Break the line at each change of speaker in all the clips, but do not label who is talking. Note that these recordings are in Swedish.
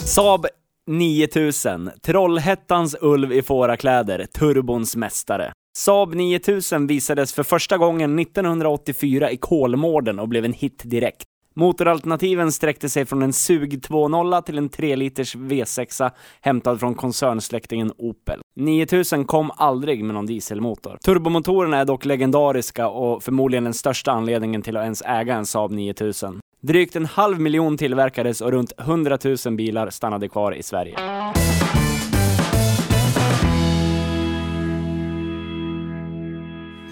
Saab 9000, Trollhättans ulv i fårakläder, turbons mästare. Saab 9000 visades för första gången 1984 i Kolmården och blev en hit direkt. Motoralternativen sträckte sig från en sug 2.0 till en 3 liters V6 hämtad från koncernsläktingen Opel. 9000 kom aldrig med någon dieselmotor. Turbomotorerna är dock legendariska och förmodligen den största anledningen till att ens äga en Saab 9000. Drygt en halv miljon tillverkades och runt 100 000 bilar stannade kvar i Sverige.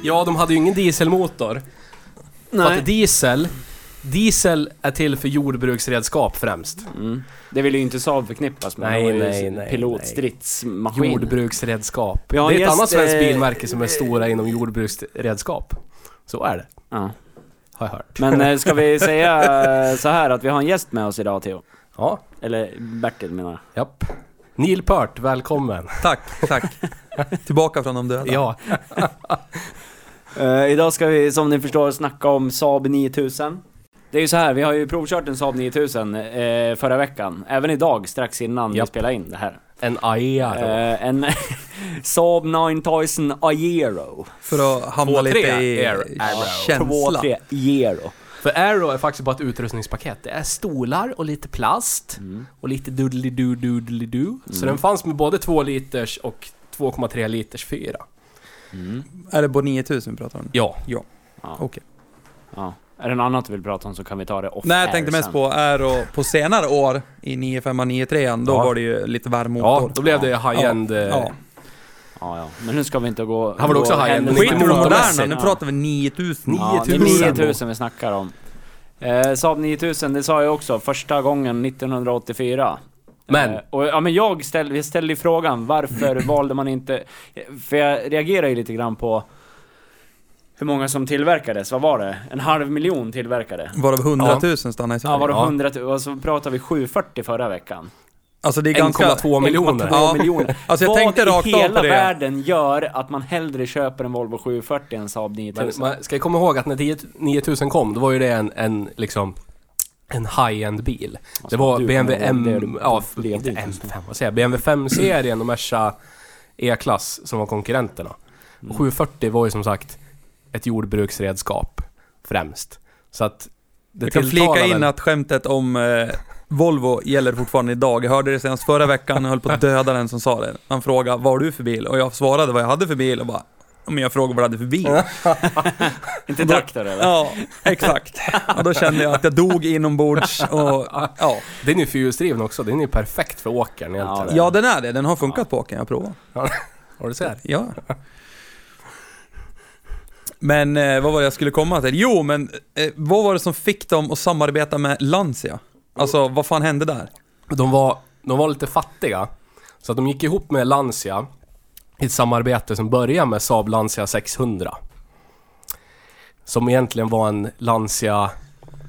Ja, de hade ju ingen dieselmotor. För att diesel, diesel är till för jordbruksredskap främst.
Det ville ju inte Saab förknippas med.
Nej,
Det var ju
nej, nej,
Pilotstridsmaskin.
Jordbruksredskap.
Vi har
det är
en
ett
gäst,
annat svenskt
eh,
bilmärke som är stora inom jordbruksredskap. Så är det,
Ja.
har jag hört.
Men eh, ska vi säga eh, så här att vi har en gäst med oss idag, Theo?
Ja,
Eller Bertil menar jag.
japp. Neil Peart, välkommen.
Tack, tack. Tillbaka från de döda.
Ja,
Eh, idag ska vi, som ni förstår, snacka om Saab 9000. Det är ju så här, vi har ju provkört en Saab 9000 eh, förra veckan. Även idag, strax innan
Japp.
vi spelade in det här.
en AEA då.
Eh, en Saab 9000 Aero.
För att hamna
Två,
lite
tre,
i
air- arrow.
känsla.
2-3 Aero.
För Aero är faktiskt bara ett utrustningspaket. Det är stolar och lite plast
Mm.
och lite doodly-doo doodly-doo. Så den fanns med både 2 liters och 2,3 liters fyra.
Är det på 9000 pratar om?
Ja.
Ja.
Ja.
Okej.
Ja. Är det något annat du vill prata om så kan vi ta det off
Nej, jag
air
tänkte mest
sen.
på Aero på senare år i 95 93 då
Ja.
var det ju lite varm
Ja,
motor.
då blev det high-end. eh,
Ja.
Ja, ja. Men nu ska vi inte gå...
Han var
gå
också high-end,
händelserna-
men
Skit i de moderna,
motormässigt,
nu
Ja.
pratar vi 9000.
Ja, det är
9000.
9000 vi snackar om. Eh, Saab 9000, det sa jag också, första gången 1984.
Men,
Eh, och, ja, men jag ställde, jag ställde ju frågan, varför valde man inte... För jag reagerar ju lite grann på hur många som tillverkades, vad var det? En halv miljon tillverkade.
Varav 100 000 stannade i Sverige.
Ja, var det
Ja.
100 Och så pratade alltså, vi 740 förra veckan.
Alltså det är ganska...
1,2 miljoner.
1,2
Ja.
miljoner.
Alltså, jag
vad
tänkte rakt
i
av
hela
på det.
världen gör att man hellre köper en Volvo 740 än Saab 9000?
Men man ska komma ihåg att när 10 9000 kom, då var ju det en, en liksom en high-end bil. Det var
du
BMW
kommer ihåg det
M...
du
Ja,
levde
inte
i,
M5, vad säger jag? BMW 5-serien och Merca E-klass som var konkurrenterna.
Mm.
Och 740 var ju som sagt ett jordbruksredskap främst. Så att... Det
Jag kan
tilltalar
flika in
väl-
att skämtet om eh, Volvo gäller fortfarande idag. Jag hörde det senast förra veckan och höll på att döda den som sa det. Han frågade vad har du för bil? Och jag svarade vad jag hade för bil och bara men jag frågade vad jag hade för bil.
Inte traktor eller?
Ja, exakt. Och då kände jag att jag dog inombords och ja.
Den är ju fyrhjulsdriven också, den är ju perfekt för åkern egentligen.
det-
Ja, den är det. Den har funkat på åkern, jag provar.
Har du sett?
Ja. Men eh, vad var det jag skulle komma till? Jo, men eh, vad var det som fick dem att samarbeta med Lancia? Alltså, vad fan hände där?
De var, de var lite fattiga. Så att de gick ihop med Lancia i ett samarbete som började med Saab Lancia 600. Som egentligen var en Lancia,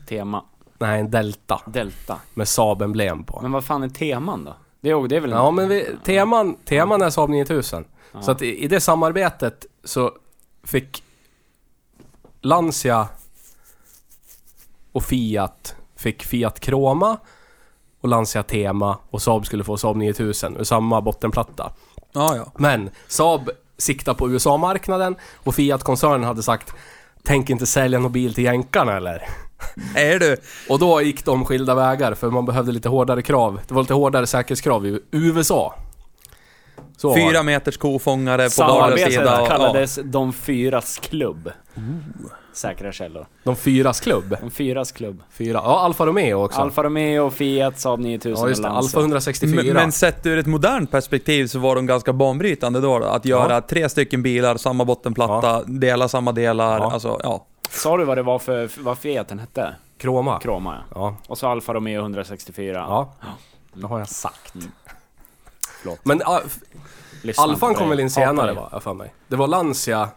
Tema.
nej en Delta
Delta.
med Saab-emblem på.
Men vad fan är teman då? Det är, det är väl
Ja men vi, teman, teman är Saab 9000. Så att i, i det samarbetet så fick Lancia och Fiat fick Fiat Croma och Lancia Tema och Saab skulle få Saab 9000 ur samma bottenplatta.
Ja, ja.
Men Saab siktar på USA-marknaden och Fiat-koncernen hade sagt Tänk inte sälja någon bil till jänkarna eller?
Är du?
Och då gick de skilda vägar för man behövde lite hårdare krav. Det var lite hårdare säkerhetskrav i USA. Så var
Fyra
det.
meters kofångare på vardera
Samarbetet
sida. Ja.
kallades De Fyras Klubb. Säkra källor.
De fyras klubb.
De Fyras Klubb.
Fyra. Ja, Alfa Romeo också.
Alfa Romeo, Fiat, Saab 9000
ja, just det.
och Lancia.
Alfa 164.
Men, men sett ur ett modernt perspektiv så var de ganska banbrytande då. då. Att göra
Ja.
tre stycken bilar, samma bottenplatta, dela samma delar.
Ja.
Alltså, ja.
Sa du vad det var för, vad Fiaten hette?
Kroma.
Kroma ja.
Ja.
Och så Alfa Romeo 164.
Ja. Det har jag sagt.
Mm.
Förlåt.
Men ja,
Lyssna inte
Alfan
på
kom
dig.
väl in senare
Hatar dig.
va? Jag för mig. Det var Lancia,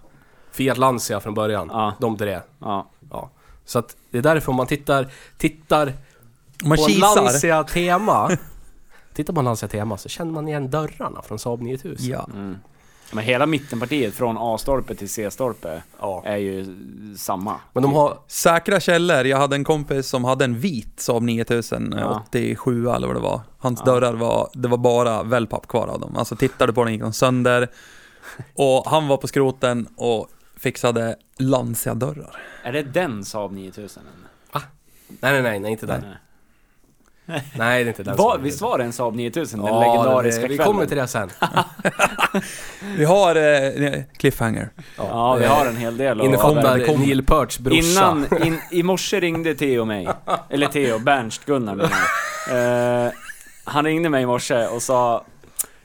Fiat Lancia från början.
Ja.
De tre.
Ja.
Ja. Så att det är därför om man tittar, tittar
Om man
på en
kisar.
Lancia Tema. tittar på en Lancia Tema så känner man igen dörrarna från Saab 9000.
Ja.
Men hela mittenpartiet från A-stolpe till C-stolpe
Ja.
är ju samma.
Men de har...
Säkra källor. Jag hade en kompis som hade en vit Saab 9000, eh,
Ja.
87 eller vad det var. Hans dörrar var, det var bara wellpapp kvar av dem. Alltså tittade på den gick de sönder. Och han var på skroten och fixade Lancia-dörrar.
Är det den Saab 9000? eller?
Nej, nej, nej, nej inte den.
Nej.
Nej, det är inte den.
Va,
som-
visst var det en Saab 9000? Den
Ja,
legendariska
det- Vi
kvällen?
kommer till det sen.
Vi har eh, cliffhanger.
Ja, vi har en hel del att-
Innefattar
Det kommer-
Neil Pearts brorsa.
Innan, in, i morse ringde Theo mig. Eller Theo, Bernst, Gunnar menar jag. Eh, Han ringde mig i morse och sa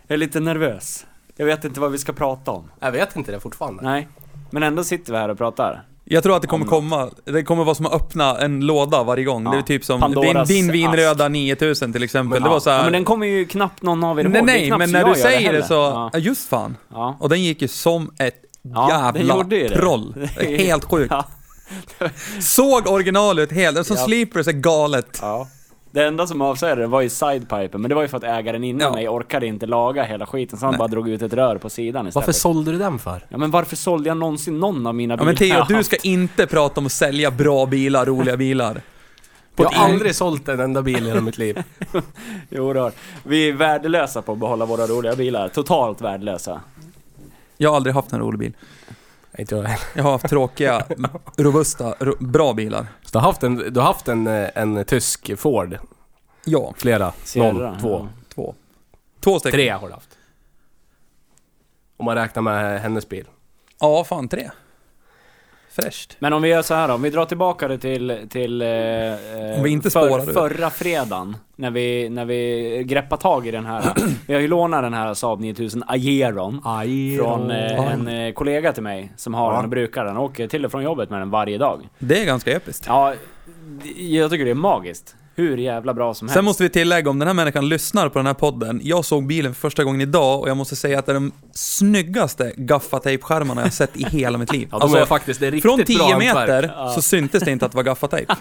Jag är lite nervös. Jag vet inte vad vi ska prata om.
Jag vet inte det fortfarande.
Nej. Men ändå sitter vi här och pratar.
Jag tror att det kommer komma, det kommer vara som att öppna en låda varje gång.
Ja.
Det är typ som din,
Pandoras
din vinröda 9000 till exempel. det var så här,
ja, men den kommer ju knappt någon av er
Nej
ihåg. Det är
nej,
knappt
men
så
när
jag
du
gör
säger det,
heller.
så, ja.
Ja.
just fan.
Ja.
Och den gick ju som ett
Ja, den
jävla
gjorde ju det.
troll.
Det är ju-
Helt sjukt.
Ja.
Såg originalet helt, den som
Ja.
Sleepers är galet.
ja. Det enda som avslöjade det var ju sidepipen, men det var ju för att ägaren innan
Ja.
mig orkade inte laga hela skiten, så han
Nej.
bara drog ut ett rör på sidan istället.
Varför sålde du den för?
Ja men varför sålde jag någonsin någon av mina
Ja
bilar?
men Theo,
jag
du
haft?
ska inte prata om att sälja bra bilar, roliga bilar.
Jag
ett-
har aldrig sålt en enda bil i hela mitt liv.
Jo, då. Vi är värdelösa på att behålla våra roliga bilar. Totalt värdelösa.
Jag har aldrig haft en rolig bil.
Nej, inte jag heller.
Jag har haft tråkiga, robusta, ro, bra bilar.
Så du har haft en, du har haft en, eh, en tysk Ford?
Ja,
Flera?
Sierra,
Noll, två,
två. Två stycken.
tre har du haft. Om man räknar med hennes bil.
Ja, fan tre. Fräscht.
Men om vi gör så här då, om vi drar tillbaka det till, till eh, eh,
Om vi inte spårar ur.
förra fredagen. När vi, när vi greppade tag i den här. Vi har ju lånat den här Saab 9000 Aeron.
Aj,
Från eh, en eh, kollega till mig som har den och brukar den. Och åker till och från jobbet med den varje dag.
Det är ganska episkt.
Ja, d- jag tycker det är magiskt. Hur jävla bra som helst.
Sen måste vi tillägga, om den här människan lyssnar på den här podden. Jag såg bilen för första gången idag och jag måste säga att det är de snyggaste gaffatejpskärmarna jag sett i hela mitt liv.
Ja, de
Alltså,
är faktiskt, det är riktigt
från 10
bra
meter
hantverk.
så syntes det inte att det var gaffatejp.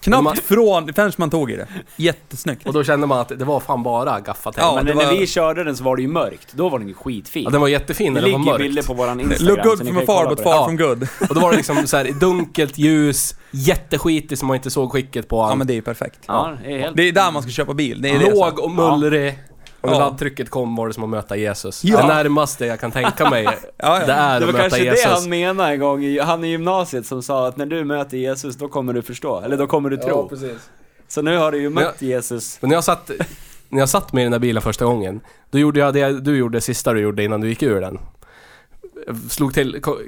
Knappt
Man-
från, förrän man tog i det. Jättesnyggt.
Och då kände man att det var fan bara gaffatejp.
Ja,
Ja,
Men
det
när
var-
vi körde den så var det ju mörkt. Då var den ju skitfin.
den var jättefin
Det
när den var
ligger
mörk.
bilder på våran Instagram.
Look good
så ni
from
kan ju
afar
kolla
but
på
far
det.
Ja.
from good.
Och då var det liksom så här i dunkelt ljus, jätteskitig som man inte såg skicket på.
Ja
Han.
men det är ju perfekt.
Ja, det är helt...
Det är där man ska köpa bil. Det är det.
Låg
som-
och mullrig. Och när
Ja.
laddtrycket kom var det som att möta Jesus.
Ja.
Det närmaste jag kan tänka mig,
ja.
det är
Det var
att möta
kanske
Jesus.
det han menade en gång, i, han i gymnasiet som sa att när du möter Jesus då kommer du förstå, eller då kommer du tro.
precis.
så nu har du ju mött
Ja.
Jesus.
Men när jag satt, när jag satt med i den där bilen första gången, då gjorde jag det du gjorde sista du gjorde innan du gick ur den. Slog till... ko-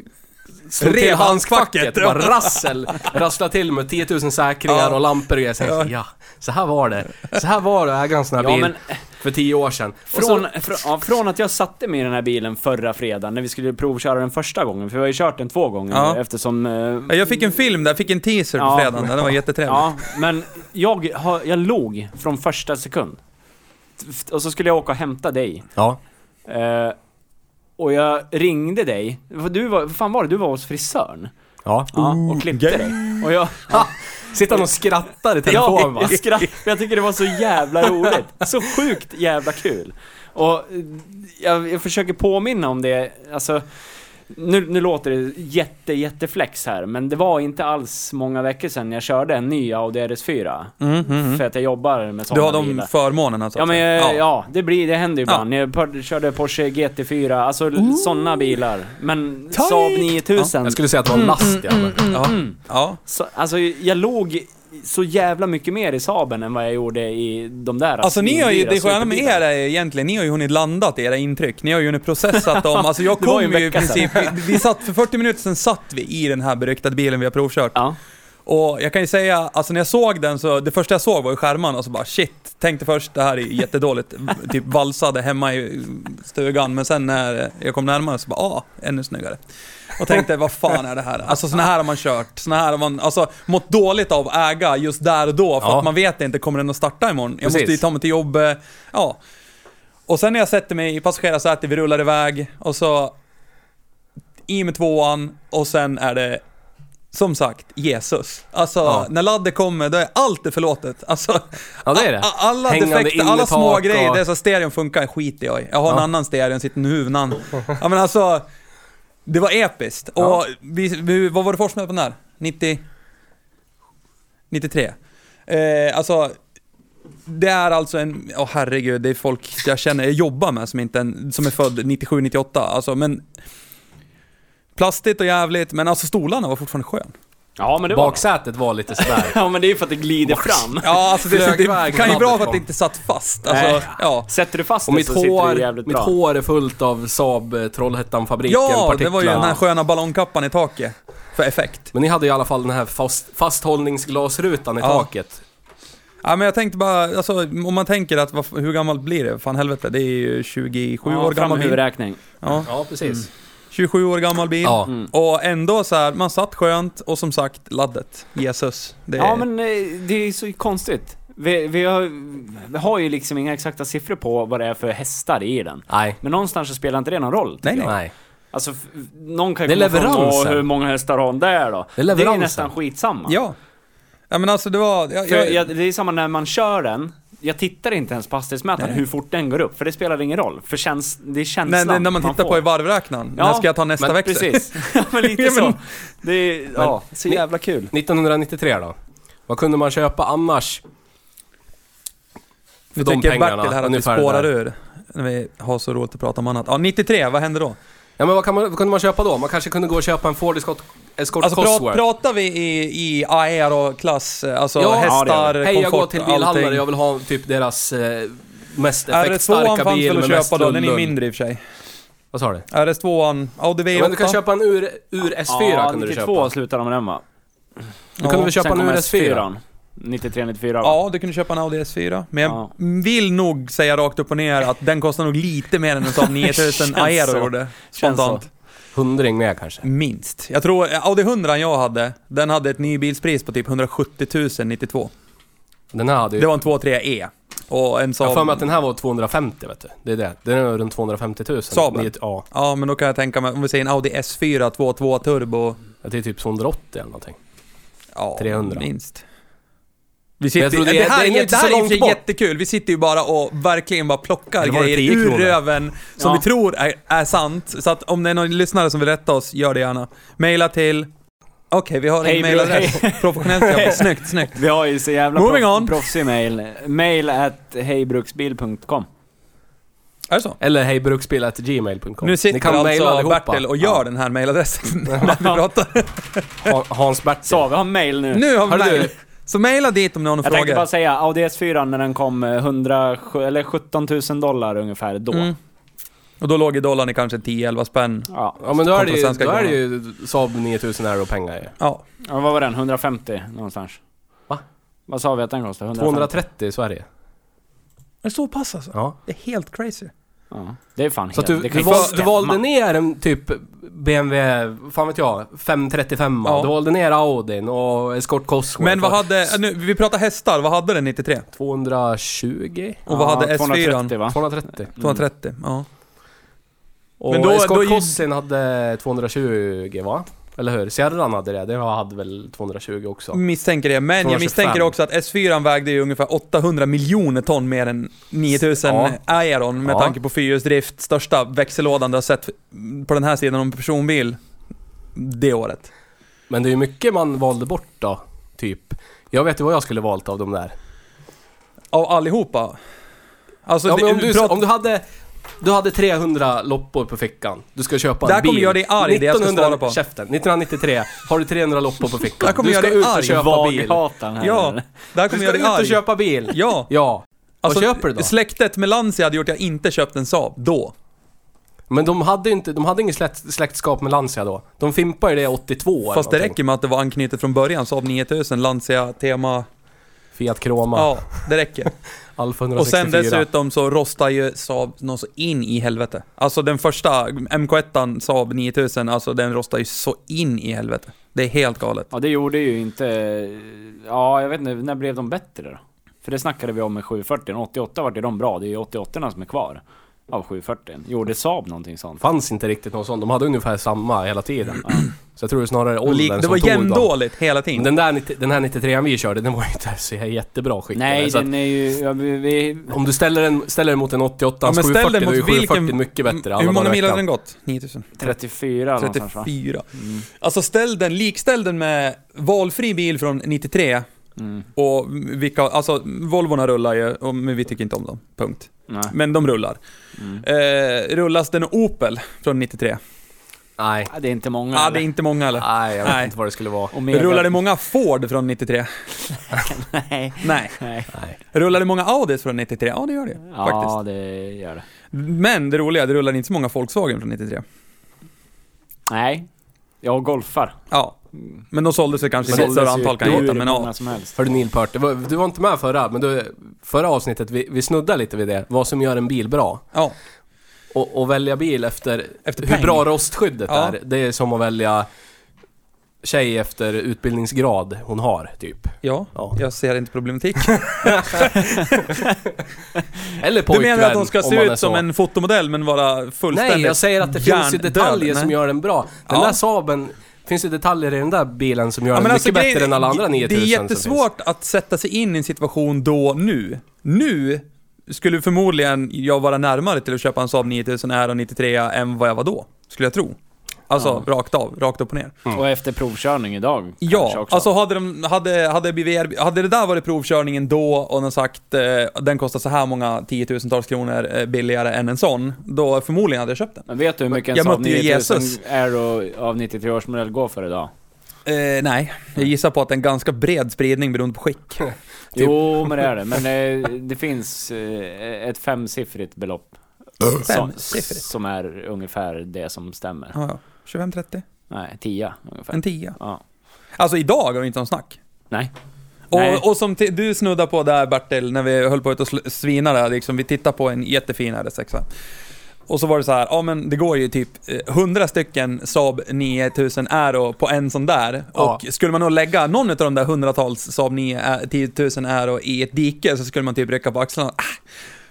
Slog
Rev
till handskfacket,
handskfacket,
bara rassel. Rasslade till med 10 000 säkringar
Ja.
och lampor och grejer. Så jag tänkte, ja, så här var det. Så här var det att äga en sån här
Ja,
bil
men-
för 10 år sedan. Och så-
Från, fr, ja, från att jag satte mig i den här bilen förra fredagen när vi skulle provköra den första gången, för vi har ju kört den två gånger
Ja.
nu, eftersom... eh,
Ja, Jag fick en film där, jag fick en teaser på
Ja.
fredagen. Den var jättetrevlig.
Ja, men jag, har- jag låg från första sekund. Och så skulle jag åka och hämta dig.
ja.
Eh, och jag ringde dig, För du var, vad fan var det? Du var hos frisörn?
ja.
Ja, och klippte dig. Och jag,
Sitter han och skrattar i telefon
jag,
va?
jag skrattade, för jag tycker det var så jävla roligt. Så sjukt jävla kul. Och eh, jag, jag försöker påminna om det, alltså nu, nu låter det jätte, jätteflex här, men det var inte alls många veckor sedan jag körde en ny Audi RS4.
Mm, mm, mm.
För att jag jobbar med
Du har
sådana
de
bilar.
förmånerna så att
Ja men eh,
säga.
ja, ja det, blir, det händer ju ibland. Jag par- körde Porsche GT4, alltså sådana bilar. Men Saab 9000.
Jag skulle säga att
Mm,
det var en last ja, men.
Ja. ja.
så, alltså jag låg så jävla mycket mer i Saaben än vad jag gjorde i de där.
Alltså ni har ju,
svindyra
det sköna med er
superbilarna.
är ju egentligen, ni har ju hunnit landat i era intryck. Ni har ju hunnit processat dem. Alltså jag
Det var
kom
ju en
ju i
vecka
princip, vi, vi satt, för 40 minuter sedan satt vi i den här beryktade bilen vi har provkört.
Ja.
Och jag kan ju säga, alltså när jag såg den så, det första jag såg var ju skärmarna och så bara shit, tänkte först det här är jättedåligt, typ valsade hemma i stugan, men sen när jag kom närmare så bara ah, ännu snyggare. Och tänkte vad fan är det här? Alltså såna här har man kört, såna här har man, alltså mått dåligt av att äga just där och då för
Ja.
att man vet inte, kommer den att starta imorgon? Jag måste ju
Precis.
ta mig till jobbet, ja. Och sen när jag sätter mig i passagerarsätet, vi rullar iväg och så i med tvåan och sen är det som sagt, Jesus. Alltså,
Ja.
när laddet kommer, då är allt det förlåtet. Alltså,
Ja, det är det.
a- a- Alla
Hängande
defekter, alla
innertak
små grejer.
och-
Det är så, stereon funkar, skiter jag i. Jag har en
Ja.
annan stereo än sitter med huvudan. Ja, men alltså, det var episkt. Och
Ja.
vi, vi, vad var det första med på den där? 90... 93. Eh, alltså, det är alltså en, åh herregud, det är folk jag känner, jag jobbar med som inte, en, som är född 97-98, alltså men Plastigt och jävligt, men alltså stolarna var fortfarande skön.
Ja, men det var
Baksätet var lite sådär.
Ja, men det är ju för att det glider fram.
Ja, alltså det,
Flög
det
iväg
kan ju
snabbt
bra för att
kom.
det inte satt fast.
Nej.
Alltså, ja.
Sätter du fast
Och
det
mitt
så sitter det
hår,
jävligt
mitt
bra.
hår är fullt av Saab eh, Trollhättan-fabriken
ja, det
partiklar.
var ju den här sköna ballongkappan i taket för effekt.
Men ni hade i alla fall den här fast, fasthållningsglasrutan i
Ja.
taket.
Ja, men jag tänkte bara, alltså, om man tänker att vad, hur gammalt blir det? Fan helvete, det är ju 27
ja,
år gammal
fram
bil.
huvudräkning.
Ja,
Ja, precis.
Mm. 27 år gammal bil.
Ja.
Och ändå så här, man satt skönt och som sagt, laddet. Jesus. Det är,
Ja, men eh, det är så konstigt. Vi, vi, har, vi har ju liksom inga exakta siffror på vad det är för hästar i den.
Nej.
Men någonstans så spelar inte det någon roll. tycker
Nej,
jag.
nej.
Nej.
Alltså, f- någon kan
Det är
komma fram och, "Åh,
leveransen."
hur många hästar har hon där då?
Det är leveransen.
Det är nästan skitsamma.
Ja. Ja men alltså det var... Jag,
För
jag,
jag, det är samma när man kör den. Jag tittar inte ens på hastighetsmätaren
Nej.
hur fort den går upp, för det spelar ingen roll. För käns, det är känslan
när, när man tittar på
får.
i varvräknaren,
Ja,
när ska jag ta nästa
Men
växel?
Precis. ja, men lite
Ja,
så.
men-
Det är, ja, så
Ni-
jävla kul.
1993 då? Vad kunde man köpa annars?
Nu
de
tänker
pengarna,
Bertil här att vi
ungefär
spårar
där.
ur. När vi har så roligt att prata om annat. Ja, 93, vad hände då?
Ja men vad, kan man, vad kunde man köpa då? Man kanske kunde gå och köpa en Ford Escort, Escort
Alltså pra,
Cosworth?
pratar vi i, i Aero-klass, alltså
Ja,
ja,
hästar,
det
komfort,
Hej jag går till bilhandlare,
allting.
jag vill ha typ deras eh, mest
RS2
effektstarka
fanns
bil
väl
med
att
mest
köpa då, den är
rullull.
ju mindre i och för sig.
Vad sa du?
RS2, Audi V8.
Ja, men du kan köpa en ur, ur S4
ja,
kunde du
92
köpa.
slutade de med den va?
Du kunde väl köpa
Sen
en
kom
ur S4?
S4. 93, 94 va?
Ja, du kunde köpa en Audi S4. Men jag
Ja.
vill nog säga rakt upp och ner att den kostar nog lite mer än en Saab 9000
Känns
Aero
så.
gjorde.
Känns
Spontant.
Hundring med kanske.
Minst. Jag tror eh, Audi 100 jag hade, den hade ett nybilspris på typ 170 000 92.
Den här hade ju...
Det var en 2.3E. Och en
jag har för mig att
Saab...
den här var 250 vet du. Det är det. Den är runt 250 000.
Saaben?
Nio- Ja.
Ja, men då kan jag tänka mig, om vi säger en Audi S4 2.2 turbo.
Det är typ 280 eller någonting.
Ja,
300.
minst. Vi
jag
sitter,
tror
det,
det är-
här
den är
är,
inte
det här
så
är i och
långt
för sig
bort.
jättekul. Vi sitter ju bara och verkligen bara plockar
Eller var det
grejer
10
ur
kronor?
röven som
Ja.
vi tror är, är sant. Så att om det är någon lyssnare som vill rätta oss, gör det gärna. Maila till... Okej, vi har
Hej,
en mailadress. Professionellt jobb. Snyggt, snyggt.
Vi har ju så jävla
Moving
proff,
on.
proffsig mail. Mail at hejbruksbil.com.
Är det så?
Eller hejbruksbil.gmail.com
Nu sitter
mejla
alltså
allihopa.
Bertil och gör den här mailadressen när vi pratar.
Ha- Hans Bertil.
Så, vi har mail nu.
Nu har vi
Hörru du.
mail. Så maila dit om ni har några
Jag tänkte bara
frågor.
säga, Audi S4 när den kom, eh, 100, eller 17 000 dollar ungefär då.
Mm. Och då låg ju dollarn i kanske 10-11 spänn.
Ja.
Ja men då är det ju,
Svenska
då är det ju Saab 9000 euro pengar ju.
Ja.
ja, vad var den? 150 någonstans?
Va?
Vad sa vi att den kostade? 150?
230 i Sverige.
Det är så pass alltså.
Ja.
Det är helt crazy.
Ja, det är fan
Så att
helt... det
du,
kan
du,
ju
val,
inte
du valde
stämma.
ner en typ BMW, fan vet jag, 535
Ja.
Du valde ner Audin och Escort Cosworth.
Men vad
och
hade, nu, vi pratar hästar, vad hade den 93?
220?
Och vad hade
ja,
S4?
Mm.
230 va?
230.
230, ja.
Och
Men då-
Escort
då-
Cossin hade 220 va? Eller hur? Sierran hade det, det hade väl 220 också?
Misstänker det, men jag
225.
misstänker också att S4 vägde ju ungefär 800 miljoner ton mer än 9000
Ja.
Aeron med
Ja.
tanke på fyrhjulsdrift, största växellådan du har sett på den här sidan om en personbil det året.
Men det är ju mycket man valde bort då, typ. Jag vet ju vad jag skulle valt av de
Alltså,
där.
Av allihopa. Alltså,
ja,
det-
men om, du,
prat-
om du hade... Du hade 300 loppor på fickan. Du ska köpa
Där
en bil.
kommer jag dig arg, det jag ska
1900
svara på.
Käften. 1993 har du 300 loppor på fickan.
Där kommer
du
jag
ska
dig
ut
arg,
och köpa bil.
Vaghatan här.
Ja, där
Du
kommer
ska
jag
ut
bli
och
arg. Alltså,
köpa bil.
Ja.
Ja. Vad köper du då?
Släktet med Lancia hade gjort att jag inte köpt en Saab då.
Men de hade ju inte, de hade ingen släkt, släktskap med Lancia då. De fimpade ju det 82 eller
Fast det
någonting.
räcker med att det var anknutet från början, Saab 9000, Lancia, Tema.
Fiat Croma,
Ja, det räcker.
Alfa
Och sen
164.
dessutom så rostar ju Saab någon så in i helvete. Alltså den första MK1 Saab 9000, alltså den rostar ju så in i helvete. Det är helt galet.
Ja, det gjorde ju inte... Ja, jag vet inte, när blev de bättre då? För det snackade vi om med 740, 88 vart ju de bra, det är ju 88 som är kvar. av 740. Gjorde Saab någonting sånt?
Fanns inte riktigt någon sån. De hade ungefär samma hela tiden. Så jag tror det är snarare
Och lik-
åldern
Det var
som tog dem.
jämndåligt hela
Men
tiden.
Den, där, 90 den här 93 vi körde, den var ju inte så jättebra skickad.
Nej,
så
den är ju... Ja, vi, vi,
att om du ställer den, ställer den mot en 88
Ja, men ställ den
740, då är
mot
ju 740
vilken-
mycket bättre. alla
Hur många
dagar i
mil hade
veckan.
den gått? 9000.
34 någonstans va? Mm.
34. Alltså ställ den, likställ den med valfri bil från 93
Mm.
och vilka, alltså Volvorna rullar ju, och- men vi tycker inte om dem. Punkt.
Nej.
Men de rullar.
Mm.
Eh, rullas den Opel från 93?
Nej.
Ja, Det är inte många.
Ja, ah, det
eller?
är inte många eller?
Nej, jag vet
Nej.
inte vad det skulle vara.
Och med-
Rullar det många Ford från 93?
Nej.
Nej.
Nej.
Nej.
Rullar det många Audis från 93? Ja, det gör det ju,
Ja,
faktiskt.
det gör det.
Men det roliga, det rullar inte så många Volkswagen från 93.
Nej. Jag golfar.
Ja. Men de såldes väl kanske i
Men
ett
det
större
såldes ju
antal kan jag
hur
gissa, men
många
ja.
som helst.
Hördu Neil Peart, det var, du var inte med förra, men du, förra avsnittet, vi, vi snuddade lite vid det. Vad som gör en bil bra.
ja.
Och, och välja bil efter,
Efter
hur
peng.
bra rostskyddet
Ja.
är. Det är som att välja tjej efter utbildningsgrad hon har, typ.
Ja,
Ja.
jag ser inte problematik.
Eller
Du
pojkvän,
menar att de ska
om
se
man är
ut som
så.
en fotomodell men vara fullständigt
Nej, jag säger att det finns ju
hjärndöd.
detaljer som
Nej.
gör den bra. Den
Ja.
där Saaben, finns ju detaljer i den där bilen som gör
Ja,
den
men
mycket
alltså,
bättre
grejen-
än alla andra 9000
Det är
som finns.
jättesvårt att sätta sig in i en situation då, nu. Nu skulle förmodligen jag vara närmare till att köpa en Saab 9000 R och 93 än vad jag var då, skulle jag tro. Alltså rakt av, rakt upp och ner.
Och efter provkörning idag kanske
Ja,
också.
alltså hade, de, hade, hade, BVR, hade det där varit provkörningen då och de sagt eh, den kostar så här många tiotusentals kronor eh, billigare än en sån, då förmodligen hade jag köpt den.
Men vet du hur mycket en
Jag
Saab
mötte ju
9000
Jesus.
Aero av 93 års modell går för idag?
Eh, nej, jag gissar på att det är en ganska bred spridning beroende på skick. Typ.
Jo, men det är det. Men eh, det finns eh, ett femsiffrigt belopp. Som,
Femsiffrigt?
som är ungefär det som stämmer.
Ja, ja. 25-30,
Nej, tia ungefär.
en tia.
Ja.
Alltså idag har vi inte någon snack.
Nej. Nej.
Och, och som ti- du snuddar på där Bertil, när vi höll på att sl- svina där, liksom, vi tittar på en jättefin RS6. Och så var det så här, ja men det går ju typ eh, 100 stycken Saab 9000 Aero på en sån där.
Ja.
Och skulle man nog lägga någon av de där hundratals Saab 9, eh, 10000 Aero i ett dike så skulle man typ rycka på axlarna. Ah,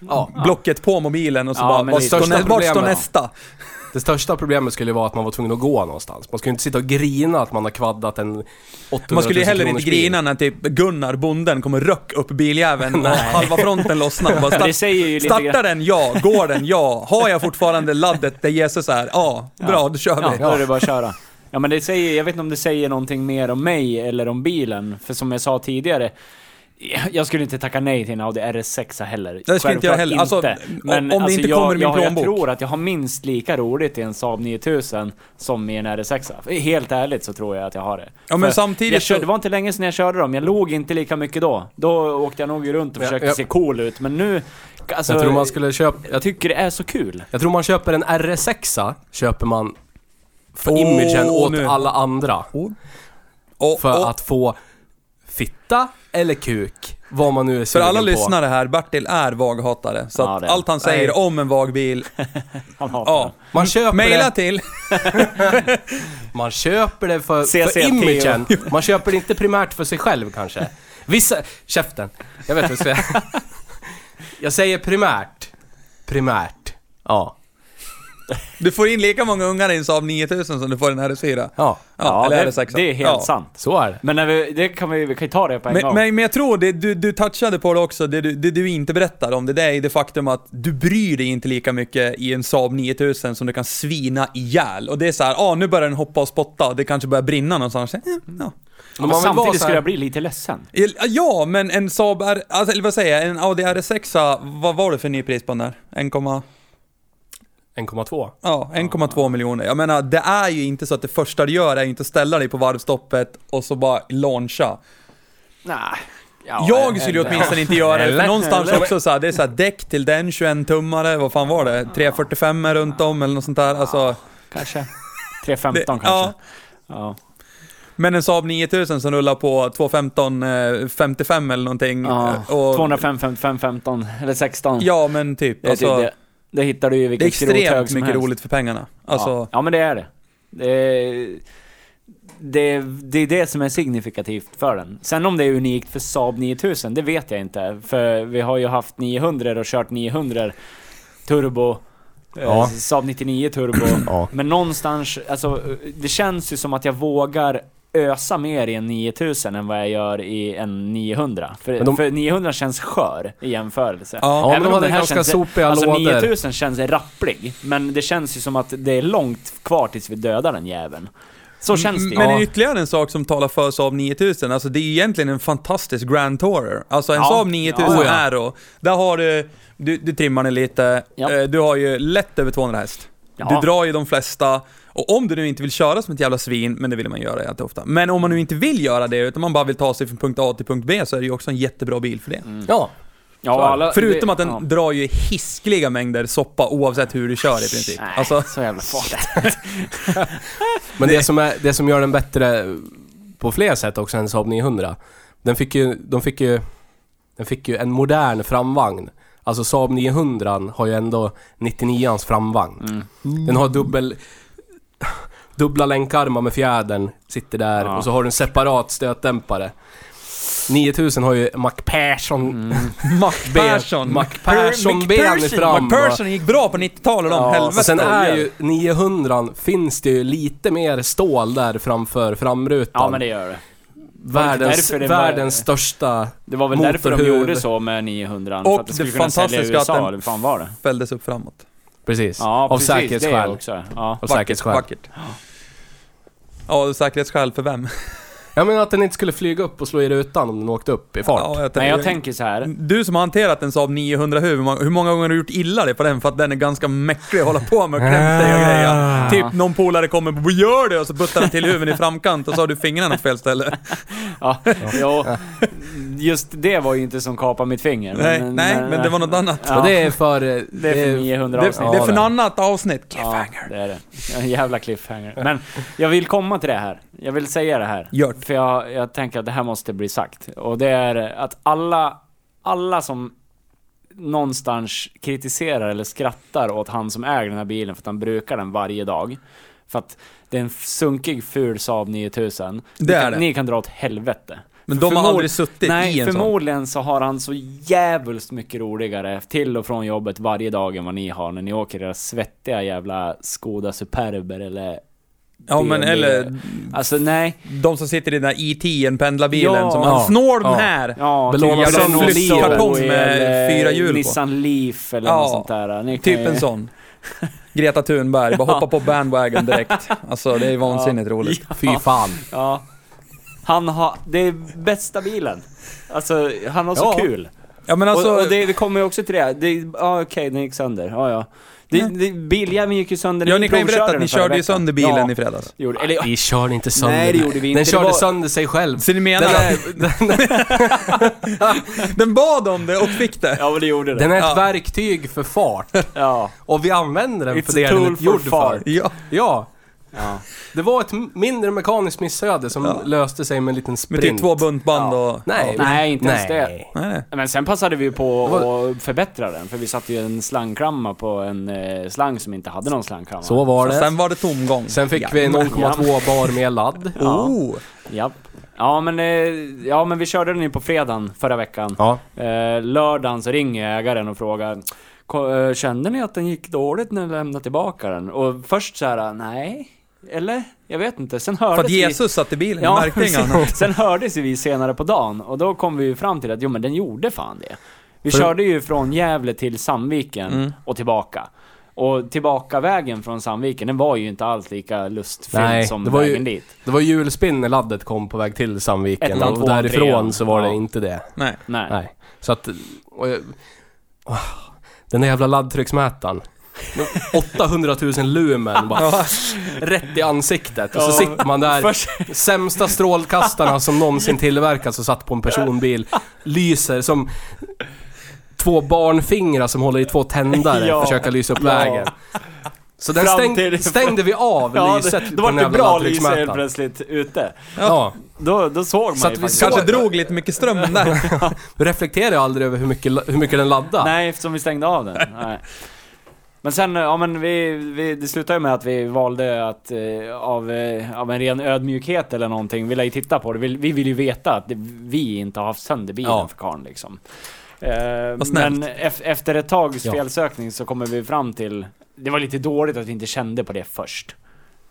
Ja.
Blocket på mobilen och så
Ja,
bara,
men
vart
det är
står,
största
nä- vart står
problemet.
nästa?
Det största problemet skulle vara att man var tvungen att gå någonstans. Man skulle inte sitta och grina att man har kvaddat en 800 000
Man skulle ju heller inte
kronors bil.
grina när typ Gunnar, bonden, kommer och röck upp biljäveln och halva fronten lossnar. Bara
Men
start,
det säger ju lite
startar
grann-
den, ja. Går den, ja. Har jag fortfarande laddet där Jesus är? Ja, bra, då kör
Ja,
vi.
då är det bara att köra. Ja, men det säger, jag vet inte om det säger någonting mer om mig eller om bilen. För som jag sa tidigare, jag skulle inte tacka nej till en Audi RS6 heller.
Det skulle inte jag heller.
Självklart
Alltså, om- om det inte
jag,
kommer i min
jag, jag
plånbok.
tror att jag har minst lika roligt i en Saab 9000 som i en RS6. Helt ärligt så tror jag att jag har det.
Ja, men
För
samtidigt
jag körde,
så-
Det var inte länge sedan jag körde dem. Jag låg inte lika mycket då. Då åkte jag nog runt och
Ja,
försökte
ja.
se cool ut. Men nu... Alltså,
Jag tror man skulle köpa... Jag,
jag tycker det är så kul.
jag tror man köper en RS6a, köper man för
Åh,
imagen åt
nu.
alla andra.
Och,
För
och,
att få fitta eller kuk, vad man nu är
för
sugen
alla
på.
lyssnare här, Bertil är vaghatare. Så
Ja,
att
det är
allt han säger
Nej.
om en vag bil,
Han hatar
ja.
Man köper
Maila
det.
till.
Man köper det för, för
CCTO.
imagen. Man köper det inte primärt för sig själv kanske. Vissa... Käften. Jag vet inte vad jag ska säga. Jag säger primärt. Primärt. Ja.
Du får in lika många ungar i en Saab 9000 som du får i en RS4.
Ja.
Ja,
eller
det,
RS6.
det är helt
Ja.
sant.
Så är det.
Men när vi, det kan vi, vi kan ju ta det på en
Men,
gång.
men, men jag tror det, du, du touchade på det också, det du, det du inte berättar om det, det är det faktum att du bryr dig inte lika mycket i en Saab 9000 som du kan svina ihjäl. Och det är så här, ah, nu börjar den hoppa och spotta, det kanske börjar brinna någonstans. Eh, Ja, ah,
Men
man vill vara så
samtidigt
här-
skulle jag bli lite ledsen.
ja men en Saab, R, alltså, eller vad säger jag, en Audi RS6, vad var det för ny pris på den där? 1,2
1,2.
ja,
Ah.
1,2 miljoner. Jag menar, det är ju inte så att det första du gör är inte att ställa dig på varvstoppet och så bara launcha.
Nej.
Jag skulle ju åtminstone inte göra det,
Eller?
för någonstans
Eller?
också så här, det är så här däck till den, 21-tummare, vad fan var det? 345 är runt om eller något sånt där. Alltså,
Kanske.
det,
3.15 kanske. Ja.
ja.
Ja.
Men en Saab 9000 som rullar på 215 eh, 55 eller någonting. eh, och-
205, 55, 15 eller 16.
Ja, men typ.
det, är
Alltså,
typ det, det hittar du ju i
det är
vilken skrothög
extremt
som
mycket
helst.
roligt för pengarna. Alltså,
ja. ja, men det är det. Det är, det, det är det som är signifikativt för den. Sen om det är unikt för Saab 9000, det vet jag inte. För vi har ju haft 900 och kört 900 turbo
Ja.
Eh, Saab 99 turbo.
Ja.
Men någonstans, alltså eh, det känns ju som att jag vågar ösa mer i en 9000 än vad jag gör i en 900. För,
Men de-
för 900 känns skör i jämförelse.
Ja,
men
Även
de
om
hade
den här
ganska
känns-
sopiga
alltså,
lådor.
9000 känns rapplig, men det känns ju som att det är långt kvar tills vi dödar den jäveln. Så känns det ju.
Men
Ja.
ytterligare en sak som talar för Saab 9000, alltså det är ju egentligen en fantastisk Grand Tourer. Alltså en
Ja.
Saab 9000
Ja, ja.
Aero, där har du, du, du trimmar den lite,
Ja.
Eh, du har ju lätt över 200 häst.
Ja.
Du drar ju de flesta, och om du nu inte vill köra som ett jävla svin, men det vill man göra jätteofta. Men om man nu inte vill göra det, utan man bara vill ta sig från punkt A till punkt B, så är det ju också en jättebra bil för det.
Ja.
Ja, alla-
Förutom
det-
att den
Mm. ja.
drar ju hiskliga mängder soppa oavsett hur du kör i princip.
Nej,
Alltså,
så jävla farligt.
Men det som, är, det som gör den bättre på fler sätt också än Saab 900. Den fick ju, de fick ju, den fick ju en modern framvagn. Alltså Saab 900 har ju ändå 99ans framvagn. Den har dubbel... Dubbla länkarmar med fjädern, sitter där
Ja.
och så har du en separat stötdämpare. 9000 har ju Mac Persson...
Mac
ben-
Persson.
Mac Persson-ben
Mac Persson.
fram,
Mac Persson gick bra på 90-talet om
Ja,
helvete.
och sen är ju 900 finns det ju lite mer stål där framför framrutan.
Ja men det gör det.
Världens,
Därför det var-
världens största...
Det var väl därför de
Motorhuv.
gjorde så med 900
Och
för att
det
det skulle kunna sälja i
fantastiska att
USA,
den-
eller vad fan var det?
Fälldes upp framåt.
Precis.
Ja,
av
precis, det
säkerhetsskäl.
också. Ja.
Av
Vackert,
säkerhetsskäl.
vackert. Ja, och säkerhetsskäl för vem?
Jag menar att den inte skulle flyga upp och slå i rutan om den åkte upp i fart.
Ja, jag
Men jag tänker så här.
Du som har hanterat en Saab 900 hur många, hur många gånger har du gjort illa dig på den för att den är ganska mäcklig att hålla på med och klämt dig
Ah.
och grejer? Typ någon polare kommer på 'Vad gör du?' och så buttar den till huvudet i framkant och så har du fingrarna på fel ställe.
Ja, jo, just det var ju inte som kapade mitt finger.
Nej, nej, men det var något annat.
Ja,
Och det är för... eh,
det är för 900
Det,
avsnitt.
det
Ja,
är för något
det.
annat avsnitt.
Ja,
Cliffhanger.
det är det. En jävla cliffhanger. Men jag vill komma till det här. Jag vill säga det här.
Gör det.
För jag, jag tänker att det här måste bli sagt. Och det är att alla, alla som någonstans kritiserar eller skrattar åt han som äger den här bilen för att han brukar den varje dag. För att det är en sunkig ful Saab 9000.
Det
ni,
är
kan,
det.
ni kan dra åt helvete.
Men
För
de har
förmod-
aldrig suttit
Nej,
i en sån.
förmodligen så har han så jävligt mycket roligare till och från jobbet varje dag än vad ni har när ni åker era svettiga jävla Skoda Superber eller...
Ja, men
BMW.
eller
Alltså nej.
de som sitter i den där E.T.-en, pendlarbilen
Ja,
som
ja,
han snor den
ja.
här.
Ja,
Belåna
typ
sig
jävla
någon
Nissan
kartong
Zoe
med
eller
fyra hjul på.
Nissan Leaf eller
Ja,
något sånt där. Ni kan
Typ
ju-
en sån. Greta Thunberg, bara hoppa på bandwagon direkt. Alltså det är vansinnigt roligt.
Fy fan.
Ja. Han har... Det är bästa bilen. Alltså, han har så
Ja.
kul.
Ja men alltså...
och, och det, det kommer ju också till det. det ja, Okej, den gick sönder. Ja, ja. Det, det, biljäveln gick ju sönder när
Mm. ja ni kan ju
provkörde
berätta att
den
ni
förra
körde ju
veckan.
sönder bilen
Ja,
i fredags.
gjorde- Eller
Vi körde inte sönder
Nej, det
den.
gjorde vi
Den
inte. Det
körde
var-
sönder sig själv.
Så ni menar
Den
att
är,
den bad om det och fick det?
Ja men det gjorde det.
den är ett
Ja.
verktyg för fart.
Ja.
Och vi använder den
It's
för
a
det den
tool
är
for
gjord
fart.
för.
Ja.
Ja.
ja.
Det var ett m- mindre mekaniskt missöde som
Ja.
löste sig med en liten
Med
sprint.
typ två buntband och...
Nej,
Ja.
Nej, inte ens
Nej.
det.
Nej, nej.
Men sen passade vi ju på
Det
att förbättra den, för vi satte ju en slangkramma på en eh, slang som inte hade någon slangkramma.
Så var
Så
det.
sen var det tomgång.
Sen fick vi 0,2 bar mer ladd.
Ja.
Oh!
Japp. Ja men, eh, ja men vi körde den ju på fredagen förra veckan.
Ja.
Eh, lördagen så ringer ägaren och frågar "Ko- eh, Kände ni att den gick dåligt när ni lämnade tillbaka den? Och först så här, nej? Eller? Jag vet inte. Sen hördes
För att
vi-
Jesus satt i bilen,
Ja,
ja, märkte inget
sen,
annat.
sen hördes ju vi senare på dagen och då kom vi ju fram till att jo men den gjorde fan det. Vi
För-
körde ju från Gävle till Sandviken
Mm.
och tillbaka. Och tillbaka vägen från Sandviken, den var ju inte alls lika
Nej,
lustfylld som
det var ju-
vägen dit.
Det var julspinn när laddet kom på väg till Sandviken
Ettan,
och
tvåan,
därifrån
trean.
så var det
Ja.
inte det.
Nej.
Nej.
Nej. Så att... Och jag, åh, den där jävla laddtrycksmätaren. 800 000 lumen bara rätt i ansiktet och så
Ja.
sitter man där.
Först-
Sämsta strålkastarna som någonsin tillverkats och satt på en personbil. Lyser som två barnfingrar som håller i två tändare
Ja.
försöker lysa upp
Ja.
vägen. Så den
Fram
stäng,
till-
stängde vi av
Ja,
lyset
det,
på
då var
den
det
jävla
bra lyse helt
laddtrycksmätaren.
plötsligt ute.
Ja.
Då, då såg man
Så
ju
att vi
faktiskt.
såg-
Kanske drog lite mycket ström där.
Du reflekterar ju aldrig över hur mycket, la- hur mycket den laddar.
Nej, eftersom vi stängde av den. Nej. Men sen, ja men vi, vi, det slutade ju med att vi valde att eh, av, eh, av en ren ödmjukhet eller någonting, vi lär ju titta på det. Vi, vi vill ju veta att det, vi inte har haft sönder bilen
Ja.
för karln liksom. Eh,
Vad snällt.
men ef, efter ett tags
Ja.
felsökning så kommer vi fram till det var lite dåligt att vi inte kände på det först.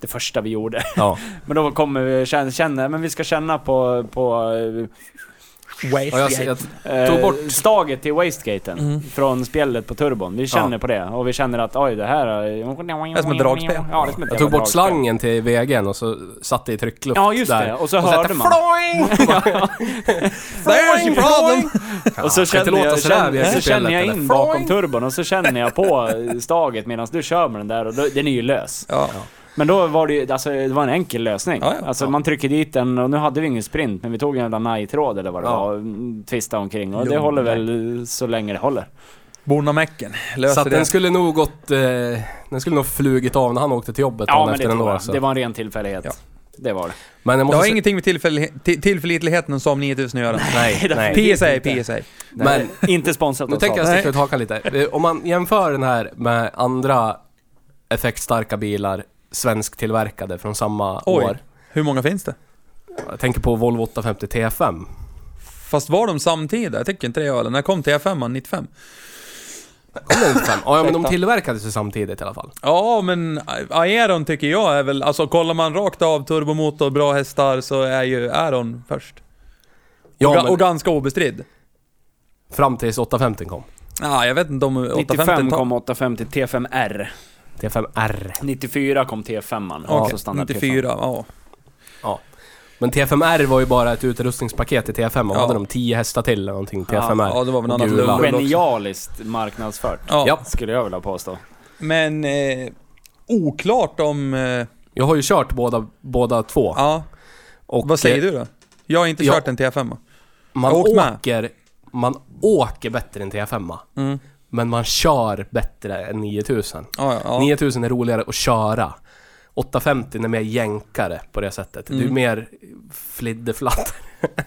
Det första vi gjorde.
Ja.
Men då kommer vi känna, känna men vi ska känna på, eh, på
Ja, jag, ser- jag,
eh,
Tog bort.
staget till wastegaten
Mm.
från spjället på turbon. Vi känner på det och vi känner att oj det här är...
är som ett dragspel.
Ja, det är som ett
jag tog
jävla
bort
dragspel.
slangen till vägen och så satte i tryckluft
Ja just
där.
det, och så
Och så
hörde
hette
man.
There's your problem!
Och så
kan inte
känner
låta
jag,
sådär vid
känner, så
spelet,
känner jag
eller?
in bakom turbon och så känner jag på eh, staget medan du kör med den där och då, den är ju lös.
Ja.
Men då var det ju, alltså det var en enkel lösning.
Ja, ja.
alltså man trycker dit den och nu hade vi ingen sprint men vi tog en jävla najtråd eller vad det
Ja.
var och mm, tvistade omkring och det
Jo,
håller väl så länge det håller.
Bornamäcken löser
Så att
det.
den skulle nog gått... Eh, den skulle nog flugit av när han åkte till jobbet
Ja
dagen
men det
efter
tror
ändå.
jag.
alltså.
Det var en ren tillfällighet.
Ja.
Det var det.
Men jag
Det
måste
har
se-
ingenting med tillfäll- till- tillförlitligheten hos Saab 9000 att göra.
Nej, nej.
PSA, PSA.
Men,
Men-
inte sponsrat
Nu
av
tänker jag
Saab.
sticka ut hakan lite. Eh, Om man jämför den här med andra effektstarka bilar, svensktillverkade från samma
Oj.
år.
Hur många finns det?
Jag tänker på Volvo 850 T5.
Fast var de samtida? Jag tycker inte det jag eller. När kom T5 an? 95?
Kom den 95? Ja, ja, men de tillverkades ju samtidigt i alla fall.
Ja, men Aeron tycker jag är väl... Alltså kollar man rakt av turbomotor, bra hästar, så är ju Aeron först. och,
Ja,
ga-
men
och ganska obestridd.
fram tills 850 kom.
Ja, jag vet inte om
95
850
kom 850 T5R.
T5R.
94 kom T5an.
Okej,
alltså standard T5.
94, ja.
Men T5R var ju bara ett utrustningspaket till T5 och
Ja.
hade de 10 hästar till eller någonting,
Ja,
T5R.
ja, det var väl
Och
annat
gula.
lugn.
Genialiskt marknadsfört.
ja.
Ja.
Skulle jag vilja påstå.
Men eh, oklart om... Eh,
Jag har ju kört båda, båda två.
ja,
och
vad säger
eh,
du då? Jag har inte
Ja.
kört en T5.
Man
Jag har åkt med.
åker, man åker bättre än T5.
Mm.
Men man kör bättre än 9000.
Ja, ja, ja.
9000 är roligare att köra. 850 är mer jänkare på det sättet. Du är
Mm.
mer fliddeflatt.